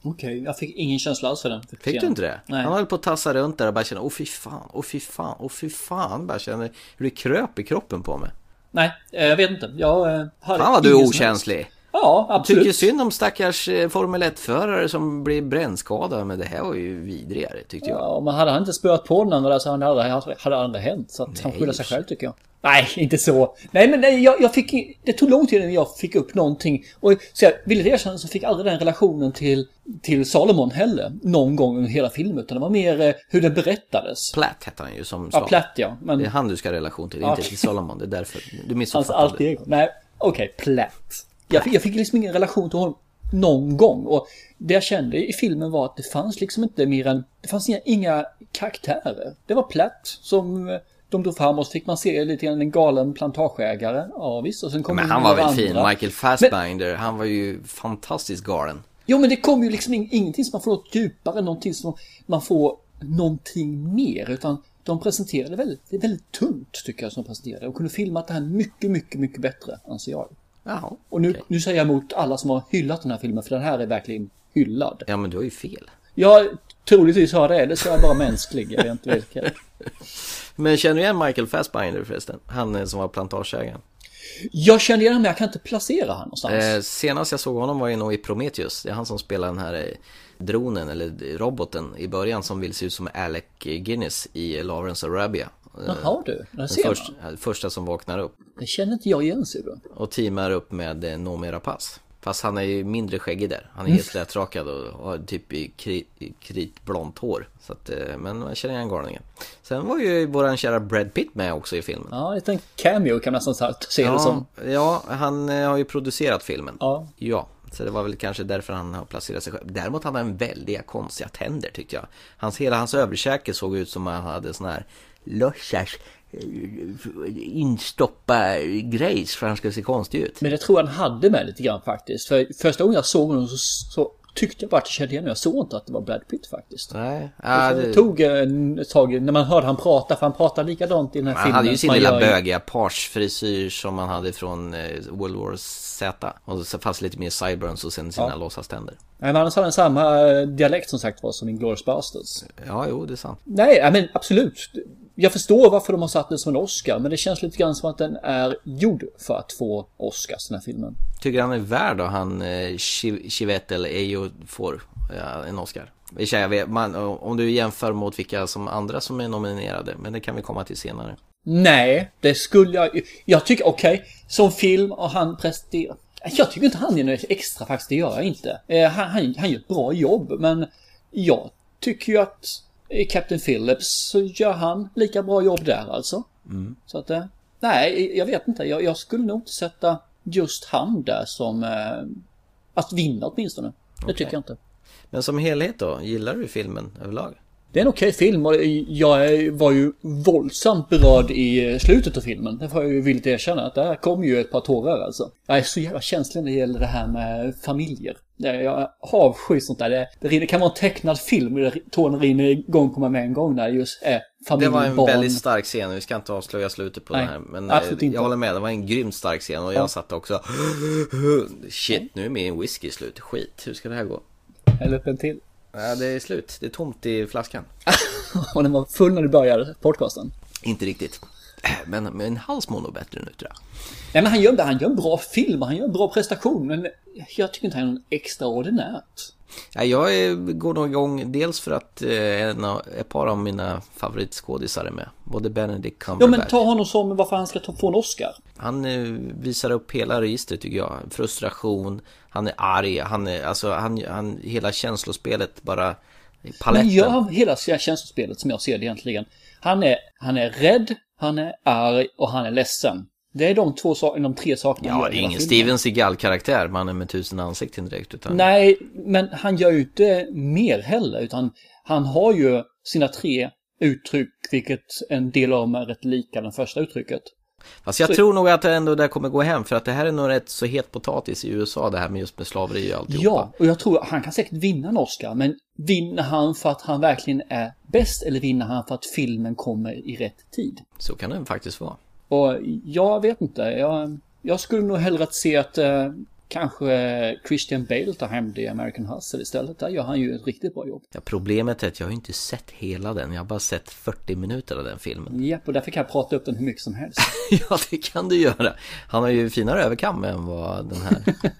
Okej, jag fick ingen känsla alls för den. För
Fick du
scenen.
inte det?
Nej.
Han höll på att tassa runt där och bara kände, åh fy fan, åh fy fan, åh fy fan. Bara kände hur det kröp i kroppen på mig.
Nej, eh, jag vet inte. Jag eh, hade
Fan vad du
ingen
är
som helst-
okänslig.
Ja, absolut.
Tycker synd om stackars eh, Formel 1-förare som blir brännskadade, men det här var ju vidrigare tyckte jag.
Ja, men hade han inte spöat på den andra där så hade det aldrig- hade det aldrig hänt. Så att han skyller sig själv tycker jag. Nej, inte så. Nej, men nej, jag, jag fick, det tog lång tid innan jag fick upp någonting. Och så jag ville erkänna så fick jag aldrig den relationen till, till Salomon heller. Någon gång under hela filmen. Utan det var mer eh, hur den berättades.
Platt hette han ju som
Ja, Platt ja. Men
Det är han du ska ha relation till,
Ja.
inte till Salomon. Det är därför. Du
hans
missuppfattade.
alter ego. Alltså, Nej, okej, Platt. Jag fick, jag fick liksom ingen relation till honom någon gång. Och det jag kände i filmen var att det fanns liksom inte mer än... Det fanns inga, inga karaktärer. Det var Platt som eh, de drog fram och så fick man se lite grann en galen plantageägare. Ja, visst. Och sen kom
Men
in
han var
några
väl fin?
Mm, andra.
Michael Fassbinder, han var ju fantastiskt galen.
Jo, men det kom ju liksom in, ingenting som man får något djupare, någonting som man får någonting mer, utan de presenterade väldigt, det är väldigt tunt tycker jag som de presenterade. De kunde filmat det här mycket, mycket, mycket bättre, anser jag.
Jaha,
Och nu, nu säger jag emot alla som har hyllat den här filmen, för den här är verkligen hyllad.
Ja, men du har ju fel.
Jag troligtvis har det, eller så är jag bara mänsklig, jag vet inte vilket.
Men känner du igen Michael Fassbinder förresten? Han eh, som var plantageägaren.
Jag känner igen honom, men jag kan inte placera honom någonstans.
Eh, senast jag såg honom var ju nog i Prometheus. Det är han som spelar den här eh, dronen eller eh, roboten i början som vill se ut som Alec Guinness i eh, Lawrence Arabia. Eh,
Jaha du, där
den
ser man.
först, eh, första som vaknar upp
Det känner inte jag igen, ser du.
och teamar upp med eh, Noomi Rapace. Fast han är ju mindre skäggig där. Han är
Mm.
helt slätrakad och har typ i kri- i kritblont hår. Så att, eh, men man känner igen galningen. Sen var ju våran kära Brad Pitt med också i filmen.
Ja, en liten cameo kan man nästan säga- se det som.
ja, han eh, har ju producerat filmen.
Ja.
så det var väl kanske därför han har placerat sig själv. Däremot hade han väldiga konstiga tänder tyckte jag. Hans, hela hans överkäke såg ut som han hade sån här låtsas eh, instoppa grejs för han skulle se konstig ut.
Men det tror jag han hade med lite grann faktiskt. För första gången jag såg honom så, så tyckte jag bara att jag kände igen honom. Jag såg inte att det var Brad Pitt faktiskt.
Nej,
det,
det-
tog eh, en, ett tag när man hörde han prata, för han pratade likadant i den här
Han
filmen.
hade ju
som
sin lilla
gör i-
bögiga parsfrisyr som han hade från eh, World War Z. Och så fast lite mer sideburns och sen sina
Ja.
låtsaständer.
Nej, men annars hade han samma eh, dialekt som sagt var som Inglourious Basterds.
Ja, jo, det är sant.
Nej, ja, men absolut. Jag förstår varför de har satt den som en Oscar, men det känns lite grann som att den är gjord för att få Oscars, den här filmen.
Tycker han är värd då han eh, Chiv- Chivette eller Ejo får ja, en Oscar? I och för sig, jag vet- Man, om du jämför mot vilka som andra som är nominerade, men det kan vi komma till senare.
Nej, det skulle jag... Jag tycker, okej, som film och han presterar... Jag tycker inte han är något extra faktiskt, det gör jag inte. Eh, han, han, han gör ett bra jobb, men jag tycker ju att i Captain Phillips så gör han lika bra jobb där alltså.
Mm.
Så att, eh, nej, jag vet inte. Jag, jag skulle nog inte sätta just han där som... Eh, att vinna åtminstone. Det
Okej.
tycker jag inte.
Men som helhet då, gillar du filmen överlag?
Det är en okej film och jag var ju våldsamt berörd i slutet av filmen. Det får jag ju villigt erkänna. Att där kom ju ett par tårar alltså. Jag är så jävla känslig när det gäller det här med familjer. Jag jag avskyr sånt där. Det, det, rinner- det kan vara en tecknad film där tårarna rinner igång på mig med en gång när det just är familj,
Det var en
barn.
väldigt stark scen, vi ska inte avslöja slutet på
Nej,
den här. Men
absolut
eh,
inte.
jag håller med, det var en grymt stark scen och jag
Ja.
satt också Shit, nu är min whisky slut. Skit, hur ska det här gå?
Häll upp en till.
Ja, det är slut, det är tomt i flaskan.
Och den var full när du började podcasten.
Inte riktigt. Men min hals mår nog bättre nu tror jag.
Nej men han gör, han gör en bra film och han gör en bra prestation. Men jag tycker inte han är någon extraordinärt.
Ja, jag eh, går nog igång dels för att eh, en av, ett par av mina favoritskådisar är med. Både Benedict
Ja
Cumberbatch.
men ta honom som varför han ska ta, få en Oscar.
Han eh, visar upp hela registret tycker jag. Frustration, han är arg, han är, alltså han, han, hela känslospelet bara, paletten.
Men gör hela känslospelet som jag ser det egentligen. Han är, han är rädd, han är arg och han är ledsen. Det är de två sakerna, de tre sakerna han
Ja,
gör
det
i
är
hela
ingen
filmen.
Steven Seagal-karaktär, mannen med tusen ansikten direkt. Utan
Nej, men han gör ju inte mer heller, utan han har ju sina tre uttryck, vilket en del av dem är rätt lika den första uttrycket.
Fast jag
Så-
tror nog att det ändå där kommer gå hem för att det här är nog rätt så het potatis i USA det här med just med slaveri och alltihopa.
Ja, och jag tror att han kan säkert vinna en Oscar, men vinner han för att han verkligen är bäst eller vinner han för att filmen kommer i rätt tid?
Så kan det faktiskt vara.
Och jag vet inte. Jag, jag skulle nog hellre att se att eh, Kanske Christian Bale tar hem det i American Hustle istället. Där gör han ju ett riktigt bra jobb.
Ja, problemet är att jag har inte sett hela den. Jag har bara sett 40 minuter av den filmen.
Ja, och därför kan jag prata upp den hur mycket som helst.
ja, det kan du göra. Han har ju finare överkam än vad den här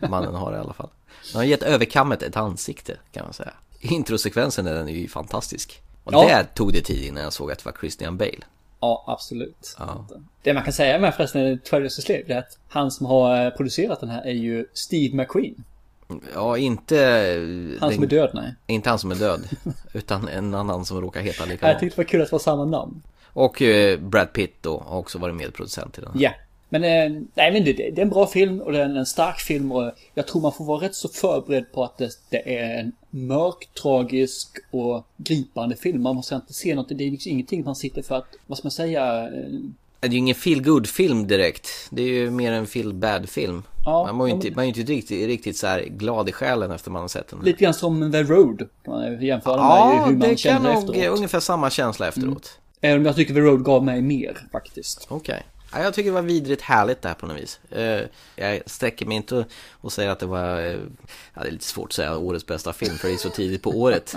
mannen har i alla fall. Han har gett överkammet ett ansikte kan man säga. Introsekvensen den är ju fantastisk. Och
Ja.
där tog det tid innan jag såg att det var Christian Bale.
Ja, absolut.
Ja.
Det man kan säga med förresten 12 Years a Slave det är att han som har eh, producerat den här är ju Steve McQueen.
Ja, inte...
Han som är död, nej.
Inte han som är död, utan en annan som råkar heta
Jag
likadant.
tyckte det var kul att det var samma namn.
Och eh, Brad Pitt då har också varit medproducent i den.
Ja. Men, eh, nej, men det, det är en bra film och det är en stark film och jag tror man får vara rätt så förberedd på att det, det är en mörk, tragisk och gripande film. Man måste inte se något, det är liksom ingenting man sitter för att, vad ska man säga, eh,
Det är ju ingen feel good film direkt. Det är ju mer en feel bad film.
Ja,
man, mår ju
ja, men-
inte, man är ju inte riktigt, riktigt så här glad i själen efter man har sett den.
lite grann som The Road. Kan man jämföra dem med
Ja,
hur man
det
känner
kan nog
efteråt. Mm.
ungefär samma känsla efteråt.
Även om jag tycker The Road gav mig mer faktiskt.
Okej. Ja, jag tycker det var vidrigt härligt det här på något vis. Eh, Jag sträcker mig inte och- och säger att det var... eh, Ja, det är lite svårt att säga årets bästa film för det är så tidigt på året.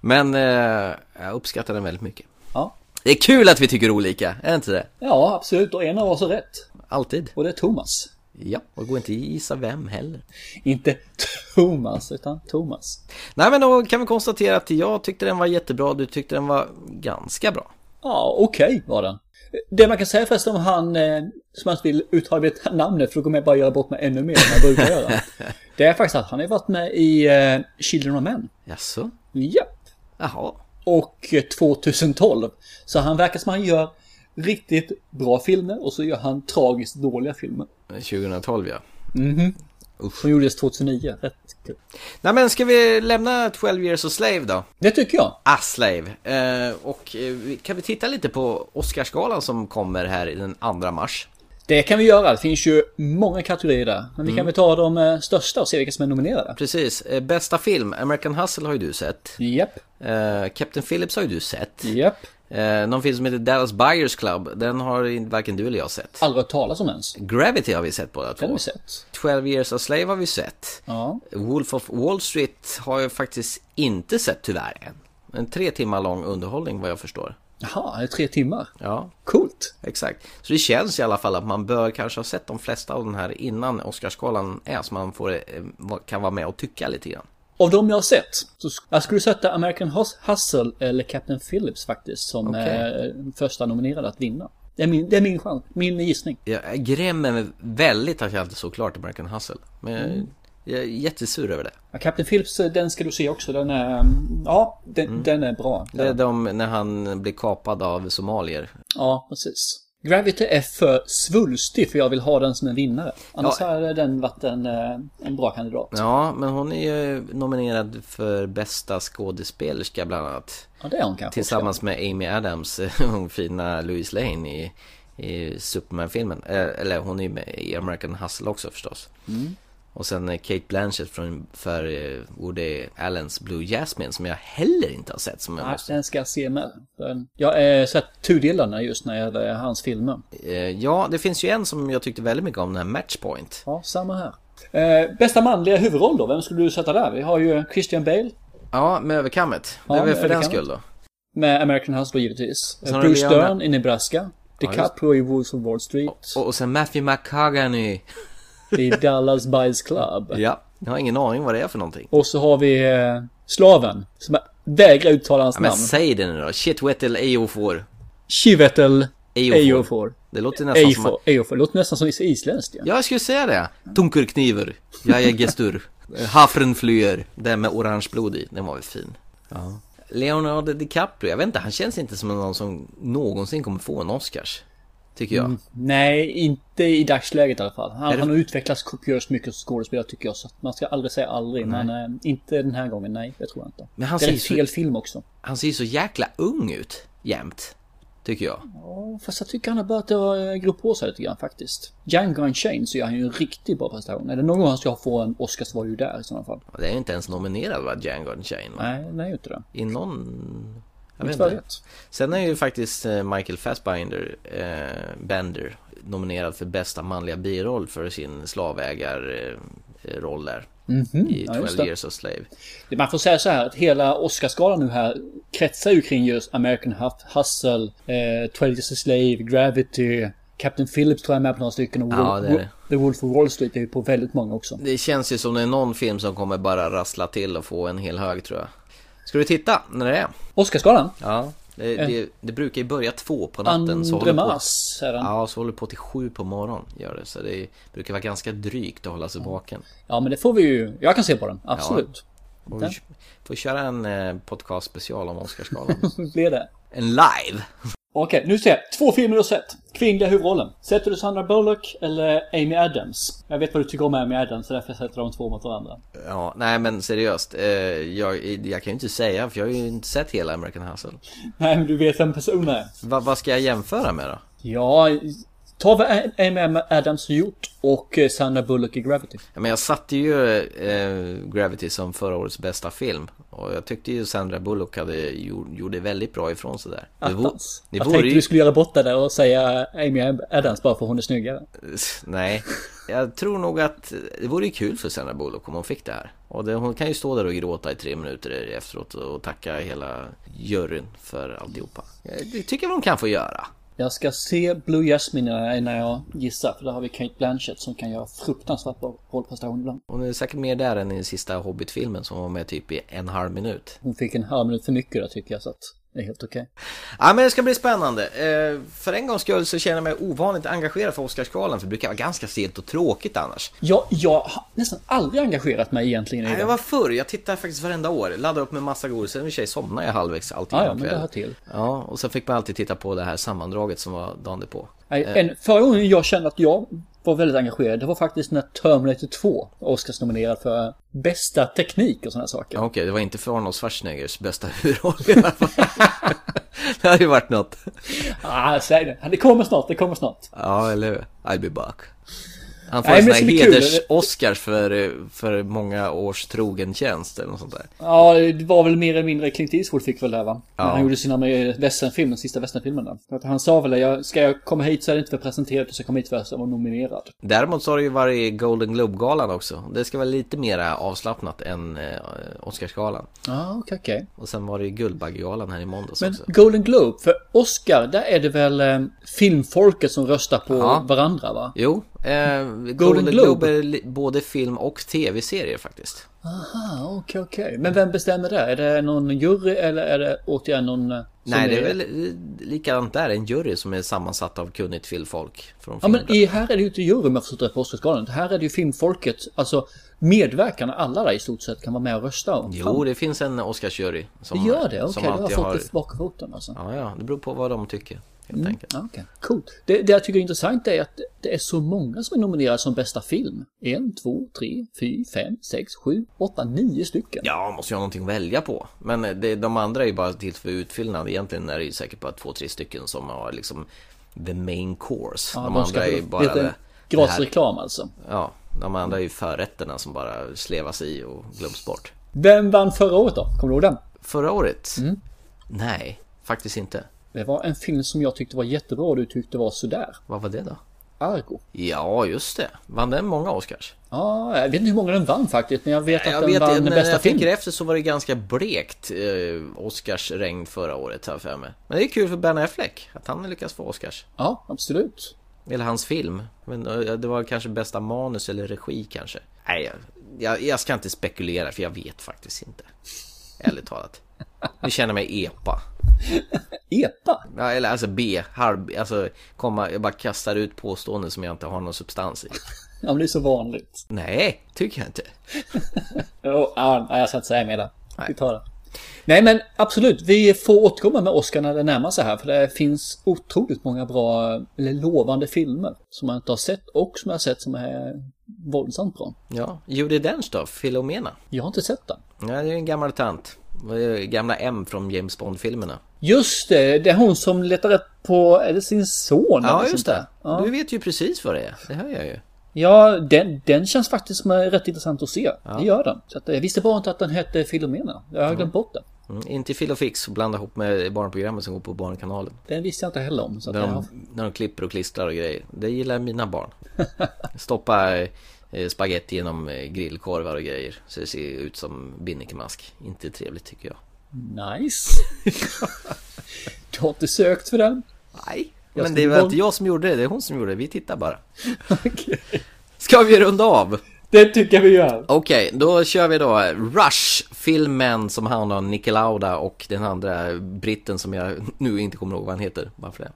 Men eh, jag uppskattar den väldigt mycket.
Ja.
Det är kul att vi tycker olika, är det inte det?
Ja, absolut. Och en av oss har rätt.
Alltid.
Och det är Thomas.
Ja, och det går inte att gissa vem heller.
Inte Thomas, utan Thomas.
Nej men då kan vi konstatera att jag tyckte den var jättebra, du tyckte den var ganska bra.
Ja, okej var den. Det man kan säga förresten om han eh, som jag inte vill uttala mitt namnet för då kommer jag bara göra bort mig ännu mer än jag brukar göra. Det är faktiskt att han har varit med i eh, Children of Men.
Jaså?
Japp.
Jaha.
Och eh, 2012. Så han verkar som han gör riktigt bra filmer och så gör han tragiskt dåliga filmer.
2012 ja.
Som gjordes 2009. Rätt kul.
Nej men ska vi lämna 12 years a slave då?
Det tycker jag.
A slave. Eh, och eh, vi- kan vi titta lite på Oscarsgalan som kommer här i den 2 mars?
Det kan vi göra. Det finns ju många kategorier där. Men vi kan väl ta de eh, största och se vilka som är nominerade.
Precis, eh, bästa film, American Hustle har ju du sett.
Japp,
Eh, Captain Phillips har ju du sett.
japp.
Eh, någon film som heter Dallas Buyers Club, den har in- varken du eller jag sett.
Aldrig hört talas om ens.
Gravity har vi sett båda
Den har
två.
vi sett.
12 years a slave har vi sett.
Ja.
Wolf of Wall Street har jag faktiskt inte sett tyvärr än. En tre timmar lång underhållning vad jag förstår.
Jaha, det är tre timmar.
Ja,
Coolt.
exakt. Så det känns i alla fall att man bör kanske ha sett de flesta av den här innan Oscarsgalan är så man får, eh, kan vara med och tycka lite grann.
Av de jag har sett, så sk- jag skulle sätta American Hus- Hustle eller Captain Phillips faktiskt som
Okej.
eh, första nominerade att vinna. Det är min, det är min chans, min gissning.
Jag grämmer mig väldigt att jag inte såg klart American Hustle. Men jag- jag är jättesur över det.
Ja, Captain Phillips, eh, den ska du se också. Den är, mm, ja, den, den är bra.
Det är de när han blir kapad av somalier.
Ja, precis. Gravity är för svulstig för jag vill ha den som en vinnare. Annars
Ja.
hade den varit en, eh, en bra kandidat.
Ja, men hon är ju nominerad för bästa skådespelerska bland annat.
Ja, det är hon kanske.
Tillsammans med Amy Adams, hon fina Louise Lane i, i Superman-filmen. Eh, Eller hon är ju med i American Hustle också förstås.
Mm.
Och sen eh, Kate Blanchett från, för eh, Woody Allens Blue Jasmine som jag heller inte har sett. Som jag
Nej,
måste.
den ska jag se med. Den- Jag har sett tudelarna just när jag hade hans filmer.
Eh, Ja, det finns ju en som jag tyckte väldigt mycket om, den här Matchpoint.
Ja, samma här. Eh, bästa manliga huvudroll då? Vem skulle du sätta där? Vi har ju Christian Bale
Ja, med överkammet.
Ja,
det är väl
med
för den
överkammet.
skull då.
med American Hustle givetvis.
Sen har
Bruce
vi andra-
Dern i Nebraska. DiCaprio i Wolves of Wall Street.
Och, och sen Matthew McCagany.
I Dallas Buys Club.
Ja. Jag har ingen aning vad det är för någonting.
Och så har vi eh, slaven. Som jag vägrar uttala hans
Ja, men
namn.
säg det nu då. Shit, Wettel, Eofor.
Chivetel
Eofor.
Eofor.
Det låter nästan som...
Eofor. Eofor. Låter nästan som isländskt ja.
Ja, jag skulle säga det. Tunkurkniver. Jag är gestur. Hafrenflyer. Den med orange blod i. Den var ju fin. Ja. Leonardo DiCaprio. Jag vet inte, han känns inte som någon som någonsin kommer få en Oscars. Tycker jag.
Nej, inte i dagsläget i alla fall. Han,
Är det-
han har utvecklats kopiöst mycket som skådespelare tycker jag. Så att man ska aldrig säga aldrig. Men eh, inte den här gången. Nej, det tror jag inte.
Men han
det är
ser
rätt
ju så-
fel film också.
Han ser ju så jäkla ung ut. Jämt. Tycker jag.
Ja, Fast jag tycker han har börjat eh, gro på sig lite grann faktiskt. Django Unchained så gör han ju en riktigt bra prestation. Är det någon gång han ska få en Oscar så var det ju där i sådana fall.
Och Det är ju inte ens nominerad va, Django Unchained? va?
Nej, nej inte det.
I någon... Jag vet
Inte vad
inte.
jag vet.
Sen är ju faktiskt eh, Michael Fassbinder, eh, Bender, nominerad för bästa manliga biroll för sin slavägarroll där.
Mhm,
I
ja,
12
just det.
years a slave.
Man får säga så här att hela Oscarsgalan nu här kretsar ju kring just American Hus- Hustle, eh, 12 Years a Slave, Gravity, Captain Phillips tror jag är med på några stycken och
Ja,
Wol-
det är det.
The Wolf of Wall Street är ju på väldigt många också.
Det känns ju som det är någon film som kommer bara rassla till och få en hel hög tror jag. Ska du titta när det är?
Oscarsgalan?
Ja. Det,
Eh.
det, det brukar ju börja två på natten. så håller
Andre
det på-
mars är den. Ja.
Ja, så håller det på till sju på morgonen. Gör det. Så det brukar vara ganska drygt att hålla
Mm.
sig vaken.
men det får vi ju. Jag kan se på den, absolut.
Och
Den.
vi får köra en eh, podcast special om Oscarsgalan.
Blir det.
en live!
Okej, nu ser jag. Två filmer du har sett. Kvinnliga huvudrollen. Sätter du Sandra Bullock eller Amy Adams? Jag vet vad du tycker om Amy Adams, så därför sätter jag de två mot varandra.
Ja, nej men seriöst. Eh, jag, jag kan ju inte säga för jag har ju inte sett hela American Hustle.
Nej, men du vet vem personen är.
Va, vad ska jag jämföra med då?
Ja, ta vad Amy Adams har gjort och eh, Sandra Bullock i Gravity.
Ja, Men jag satte ju eh, Gravity som förra årets bästa film. Och jag tyckte ju Sandra Bullock hade, gjort- gjorde väldigt bra ifrån sig där. Det, vo-
Attans.
det
jag
vore
tänkte
ju...
du skulle göra bort det där och säga Amy Adams bara för hon är snyggare.
Nej, jag tror nog att det vore ju kul för Sandra Bullock om hon fick det här. Och det, hon kan ju stå där och gråta i tre minuter efteråt och tacka hela juryn för alltihopa. Eh, Det tycker jag hon kan få göra.
Jag ska se Blue Jasmine innan jag- innan jag gissar, för där har vi Kate Blanchett som kan göra fruktansvärt bra rollprestation ibland.
Hon är säkert mer där än i den sista Hobbit-filmen som var med typ i en halv minut.
Hon fick en halv minut för mycket där tycker jag, så att det är helt okej.
Ja men det ska bli spännande. Eh, för en gångs skull så känner jag mig ovanligt engagerad för Oscarsgalan för det brukar vara ganska sent och tråkigt annars.
Jag, jag har nästan aldrig engagerat mig egentligen i
Nej,
det.
jag var förr, jag tittar faktiskt varenda år, laddar upp med massa godis, sen i och för sig somnade jag halvvägs alltid
Ja, ja,
innan
men det
kväll.
hör till.
Ja, och sen fick man alltid titta på det här sammandraget som var dagen på.
Nej, En, förra gången jag kände att jag var väldigt engagerad, det var faktiskt när Terminator 2 Oscars nominerad för bästa teknik och sådana saker.
Okej, det var inte för Arnold Schwarzeneggers bästa huvudroll i alla fall. Det hade ju varit något.
Ah, säg det. Det kommer snart, det kommer snart.
Ja, eller hur? I'll be back. Han får
Nej,
en sån
men
här
det ska bli kul.
heders-Oscars för, eh, för många års trogen tjänst eller något sånt där.
Ja, det var väl mer eller mindre Clint Eastwood fick väl det va? När
Ja.
han gjorde sina med västernfilm, den sista västernfilmen där. För att han sa väl det, jag, ska jag komma hit så är det inte för att presentera utan jag ska komma hit för att jag var nominerad.
Däremot så har det ju varit Golden Globe-galan också. Det ska vara lite mer avslappnat än eh, Oscarsgalan.
Ja, ah, okej, okej.
Och sen var det ju Guldbaggegalan här i måndags
Men
också.
Golden Globe, för Oscar, där är det väl eh, filmfolket som röstar på
Ja.
varandra va?
Jo, eh, Golden,
Golden Globe.
Globe, är li- både film och tv-serier faktiskt.
Aha, Ah, okej, okej. Men vem bestämmer det? Är det någon jury eller är det återigen någon eh, som
Nej, det är väl eh, likadant där. En jury som är sammansatt av kunnigt filmfolk. Från
Ja, men
filmbranschen.
i, här är det ju inte jury om jag förstått det på Oscarsgalan. Här är det ju filmfolket, alltså medverkarna, alla där i stort sett kan vara med och rösta. Och
Jo,
fan,
det finns en Oscarsjury.
det
som-
gör det? Okej,
som
då har jag
alltid
fått det bakom foten alltså.
Ja, ja, det beror på vad de tycker. Helt enkelt.
Ja, okej. Coolt. Det, det jag tycker är intressant är att det är så många som är nominerade som bästa film. En, två, tre, fyra, fem, sex, sju, åtta, nio stycken.
Ja, måste ju ha någonting att välja på. Men eh, det, de andra är ju bara till för utfyllnad. Egentligen är det ju säkert bara två, tre stycken som har liksom the main course. de,
de ska
andra är ju
få
bara...
lite
det- det här-
Gratis reklam alltså.
Ja, de andra är ju förrätterna som bara slevas i och glöms bort.
Vem vann förra året då? Kommer du ihåg den?
Förra året?
Mm.
Nej, faktiskt inte.
Det var en film som jag tyckte var jättebra och du tyckte var sådär.
Vad var det då?
Argo.
Ja, just det. Vann den många Oscars?
Ja, jag vet inte hur många den vann faktiskt, men jag vet att
Jag
den
vet eh,
vann
inte, när
bästa
jag
film.
tänker efter så var det ganska blekt eh, Oscarsregn förra året här för mig. Men det är kul för Ben Affleck att han lyckas få Oscars.
Ja, absolut.
Eller hans film. Men eh, det var kanske bästa manus eller regi kanske. Nej, jag, jag, jag ska inte spekulera för jag vet faktiskt inte. Ärligt talat. Nu känner jag mig epa.
Epa?
Ja, eller alltså B, halv, alltså komma, jag bara kastar ut påståenden som jag inte har någon substans i.
Ja, men det är så vanligt.
Nej, tycker jag inte.
Oh, ah, nej, jag ska inte säga mer där. Vi tar det. Nej, men absolut. Vi får återkomma med Oscar när det närmar sig här, för det finns otroligt många bra, eller lovande filmer som man inte har sett och som jag har sett som är våldsamt bra.
Ja, Judi Dench då, Filomena.
Jag har inte sett den.
Ja, det är en gammal tant. Vad är det? Gamla M från James Bond-filmerna.
Just det, det är hon som letar rätt på, är det sin son?
Ja, just
eller sånt
det.
där? Ja.
Du vet ju precis vad det är. Det hör jag ju.
Ja, den, den känns eh, faktiskt som är rätt intressant att se. Det gör den. Så att, jag visste bara inte att den hette Filomena. Jag har glömt bort den.
Mm, inte Fil och Fix och blanda ihop med barnprogrammet som går på Barnkanalen.
Den visste jag inte heller om. Så
när,
att
de,
jag har-
när de klipper och klistrar och grejer. Det gillar mina barn. Stoppa eh, spaghetti genom eh, grillkorvar och grejer. Så det ser ut som binnikemask. Inte trevligt tycker jag.
Nice! du har inte sökt för den?
Nej,
Jag
Men
skulle
det var
bara-
inte jag som gjorde det, det är hon som gjorde det. Vi tittar bara. Ska vi runda av?
Det tycker vi gör.
Okej, då kör vi då Rush, filmen som handlar om Niki Lauda och den andra britten som jag nu inte kommer ihåg vad han heter. Varför det?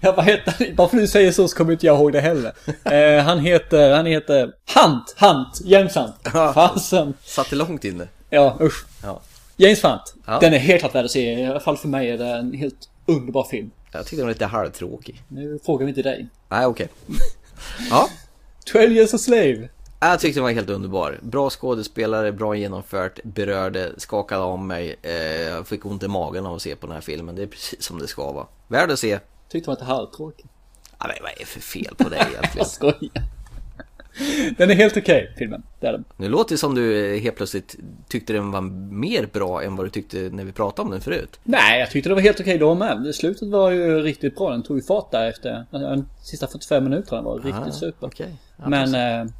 Ja, vad heter han? Varför du säger så så kommer inte jag ihåg det heller. Eh, han heter... Han heter... Hunt! Hunt! James Hunt! Fasen!
Satt det långt inne?
Ja, usch.
Ja.
James Hunt!
Ja.
Den är helt klart värd att se. I alla fall för mig är det en helt underbar film.
Jag tyckte den var lite halvtråkig.
Nu frågar vi inte dig.
Nej, okej. Ja.
12 years a slave.
Jag tyckte den var helt underbar. Bra skådespelare, bra genomfört, berörde, skakade om mig. Eh, jag fick ont i magen av att se på den här filmen. Det är precis som det ska vara. Värd att se.
Tyckte man att det här var tråkigt.
Ja, men vad är det för fel på dig egentligen?
Jag skojar. Den är helt okej, filmen. Det är den.
Nu låter det som du eh, helt plötsligt tyckte den var mer bra än vad du tyckte när vi pratade om den förut.
Nej, jag tyckte det var helt okej då med. Slutet var ju riktigt bra. Den tog ju fart där efter. De sista 45 minuterna var riktigt super.
Ah, okej.
Men eh,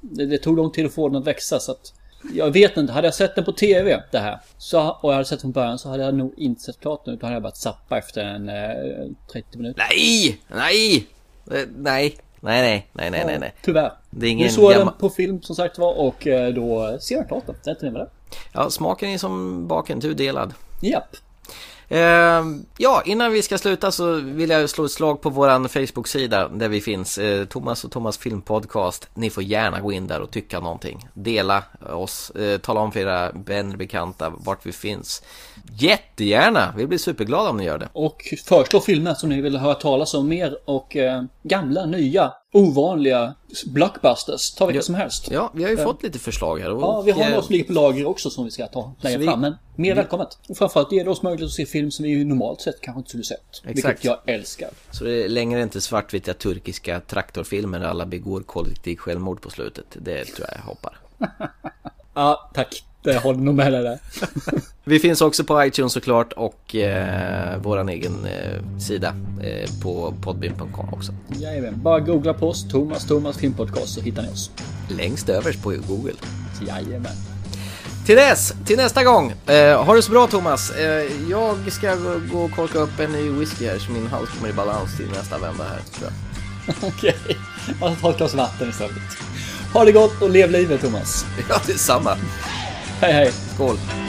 det, det tog lång tid att få den att växa så att... Jag vet inte, hade jag sett den på TV det här så, och jag hade sett den från början så hade jag nog inte sett klart den utan hade jag börjat zappa efter en eh, 30 minuter.
Nej! Nej! Eh, Nej, nej, nej, nej, nej, nej. nej.
Tyvärr.
Det är ingen
nu såg jag
gammal-
den på film som sagt var och eh, då ser jag klart den. Sen inte mer med det.
Ja, smaken är som baken, tudelad.
Japp.
Eh, ja, innan vi ska sluta så vill jag slå ett slag på våran Facebook-sida där vi finns. Eh, Thomas och Thomas filmpodcast. Ni får gärna gå in där och tycka någonting. Dela oss, eh, tala om för era vänner, bekanta, vart vi finns. Jättegärna! Vi blir superglada om ni gör det.
Och föreslå filmer som ni vill höra talas om mer och eh, gamla, nya, ovanliga blockbusters. Ta vilka som helst.
Ja, vi har ju
Eh,
fått lite förslag här. och-
Ja, vi har
eh,
några som ligger på lager också som vi ska ta
Så
längre
vi-
fram. Men mer
vi-
välkommet. Och framförallt ger det oss möjlighet att se film som vi ju normalt sett kanske inte skulle sett. Vilket jag älskar.
Så det är längre inte svartvita turkiska traktorfilmer där alla begår kollektivt självmord på slutet. Det tror jag jag hoppar.
Ja, tack. Det håller nog med dig där.
Vi finns också på iTunes såklart och eh, våran egen eh, sida eh, på podbin.com också.
Jajamän. Bara googla på oss, Thomas Thomas Filmpodcast, så hittar ni oss.
Längst överst på Google.
Jajamän.
Till dess, till nästa gång! Eh, ha det så bra Thomas! Eh, jag ska gå- gå och korka upp en ny whisky här så min hals kommer i balans till nästa vända här. Tror jag.
Okej. Okay. Ta ett glas vatten istället. Ha det gott och lev livet, Thomas.
Ja, detsamma!
Hej, hej.
Skål!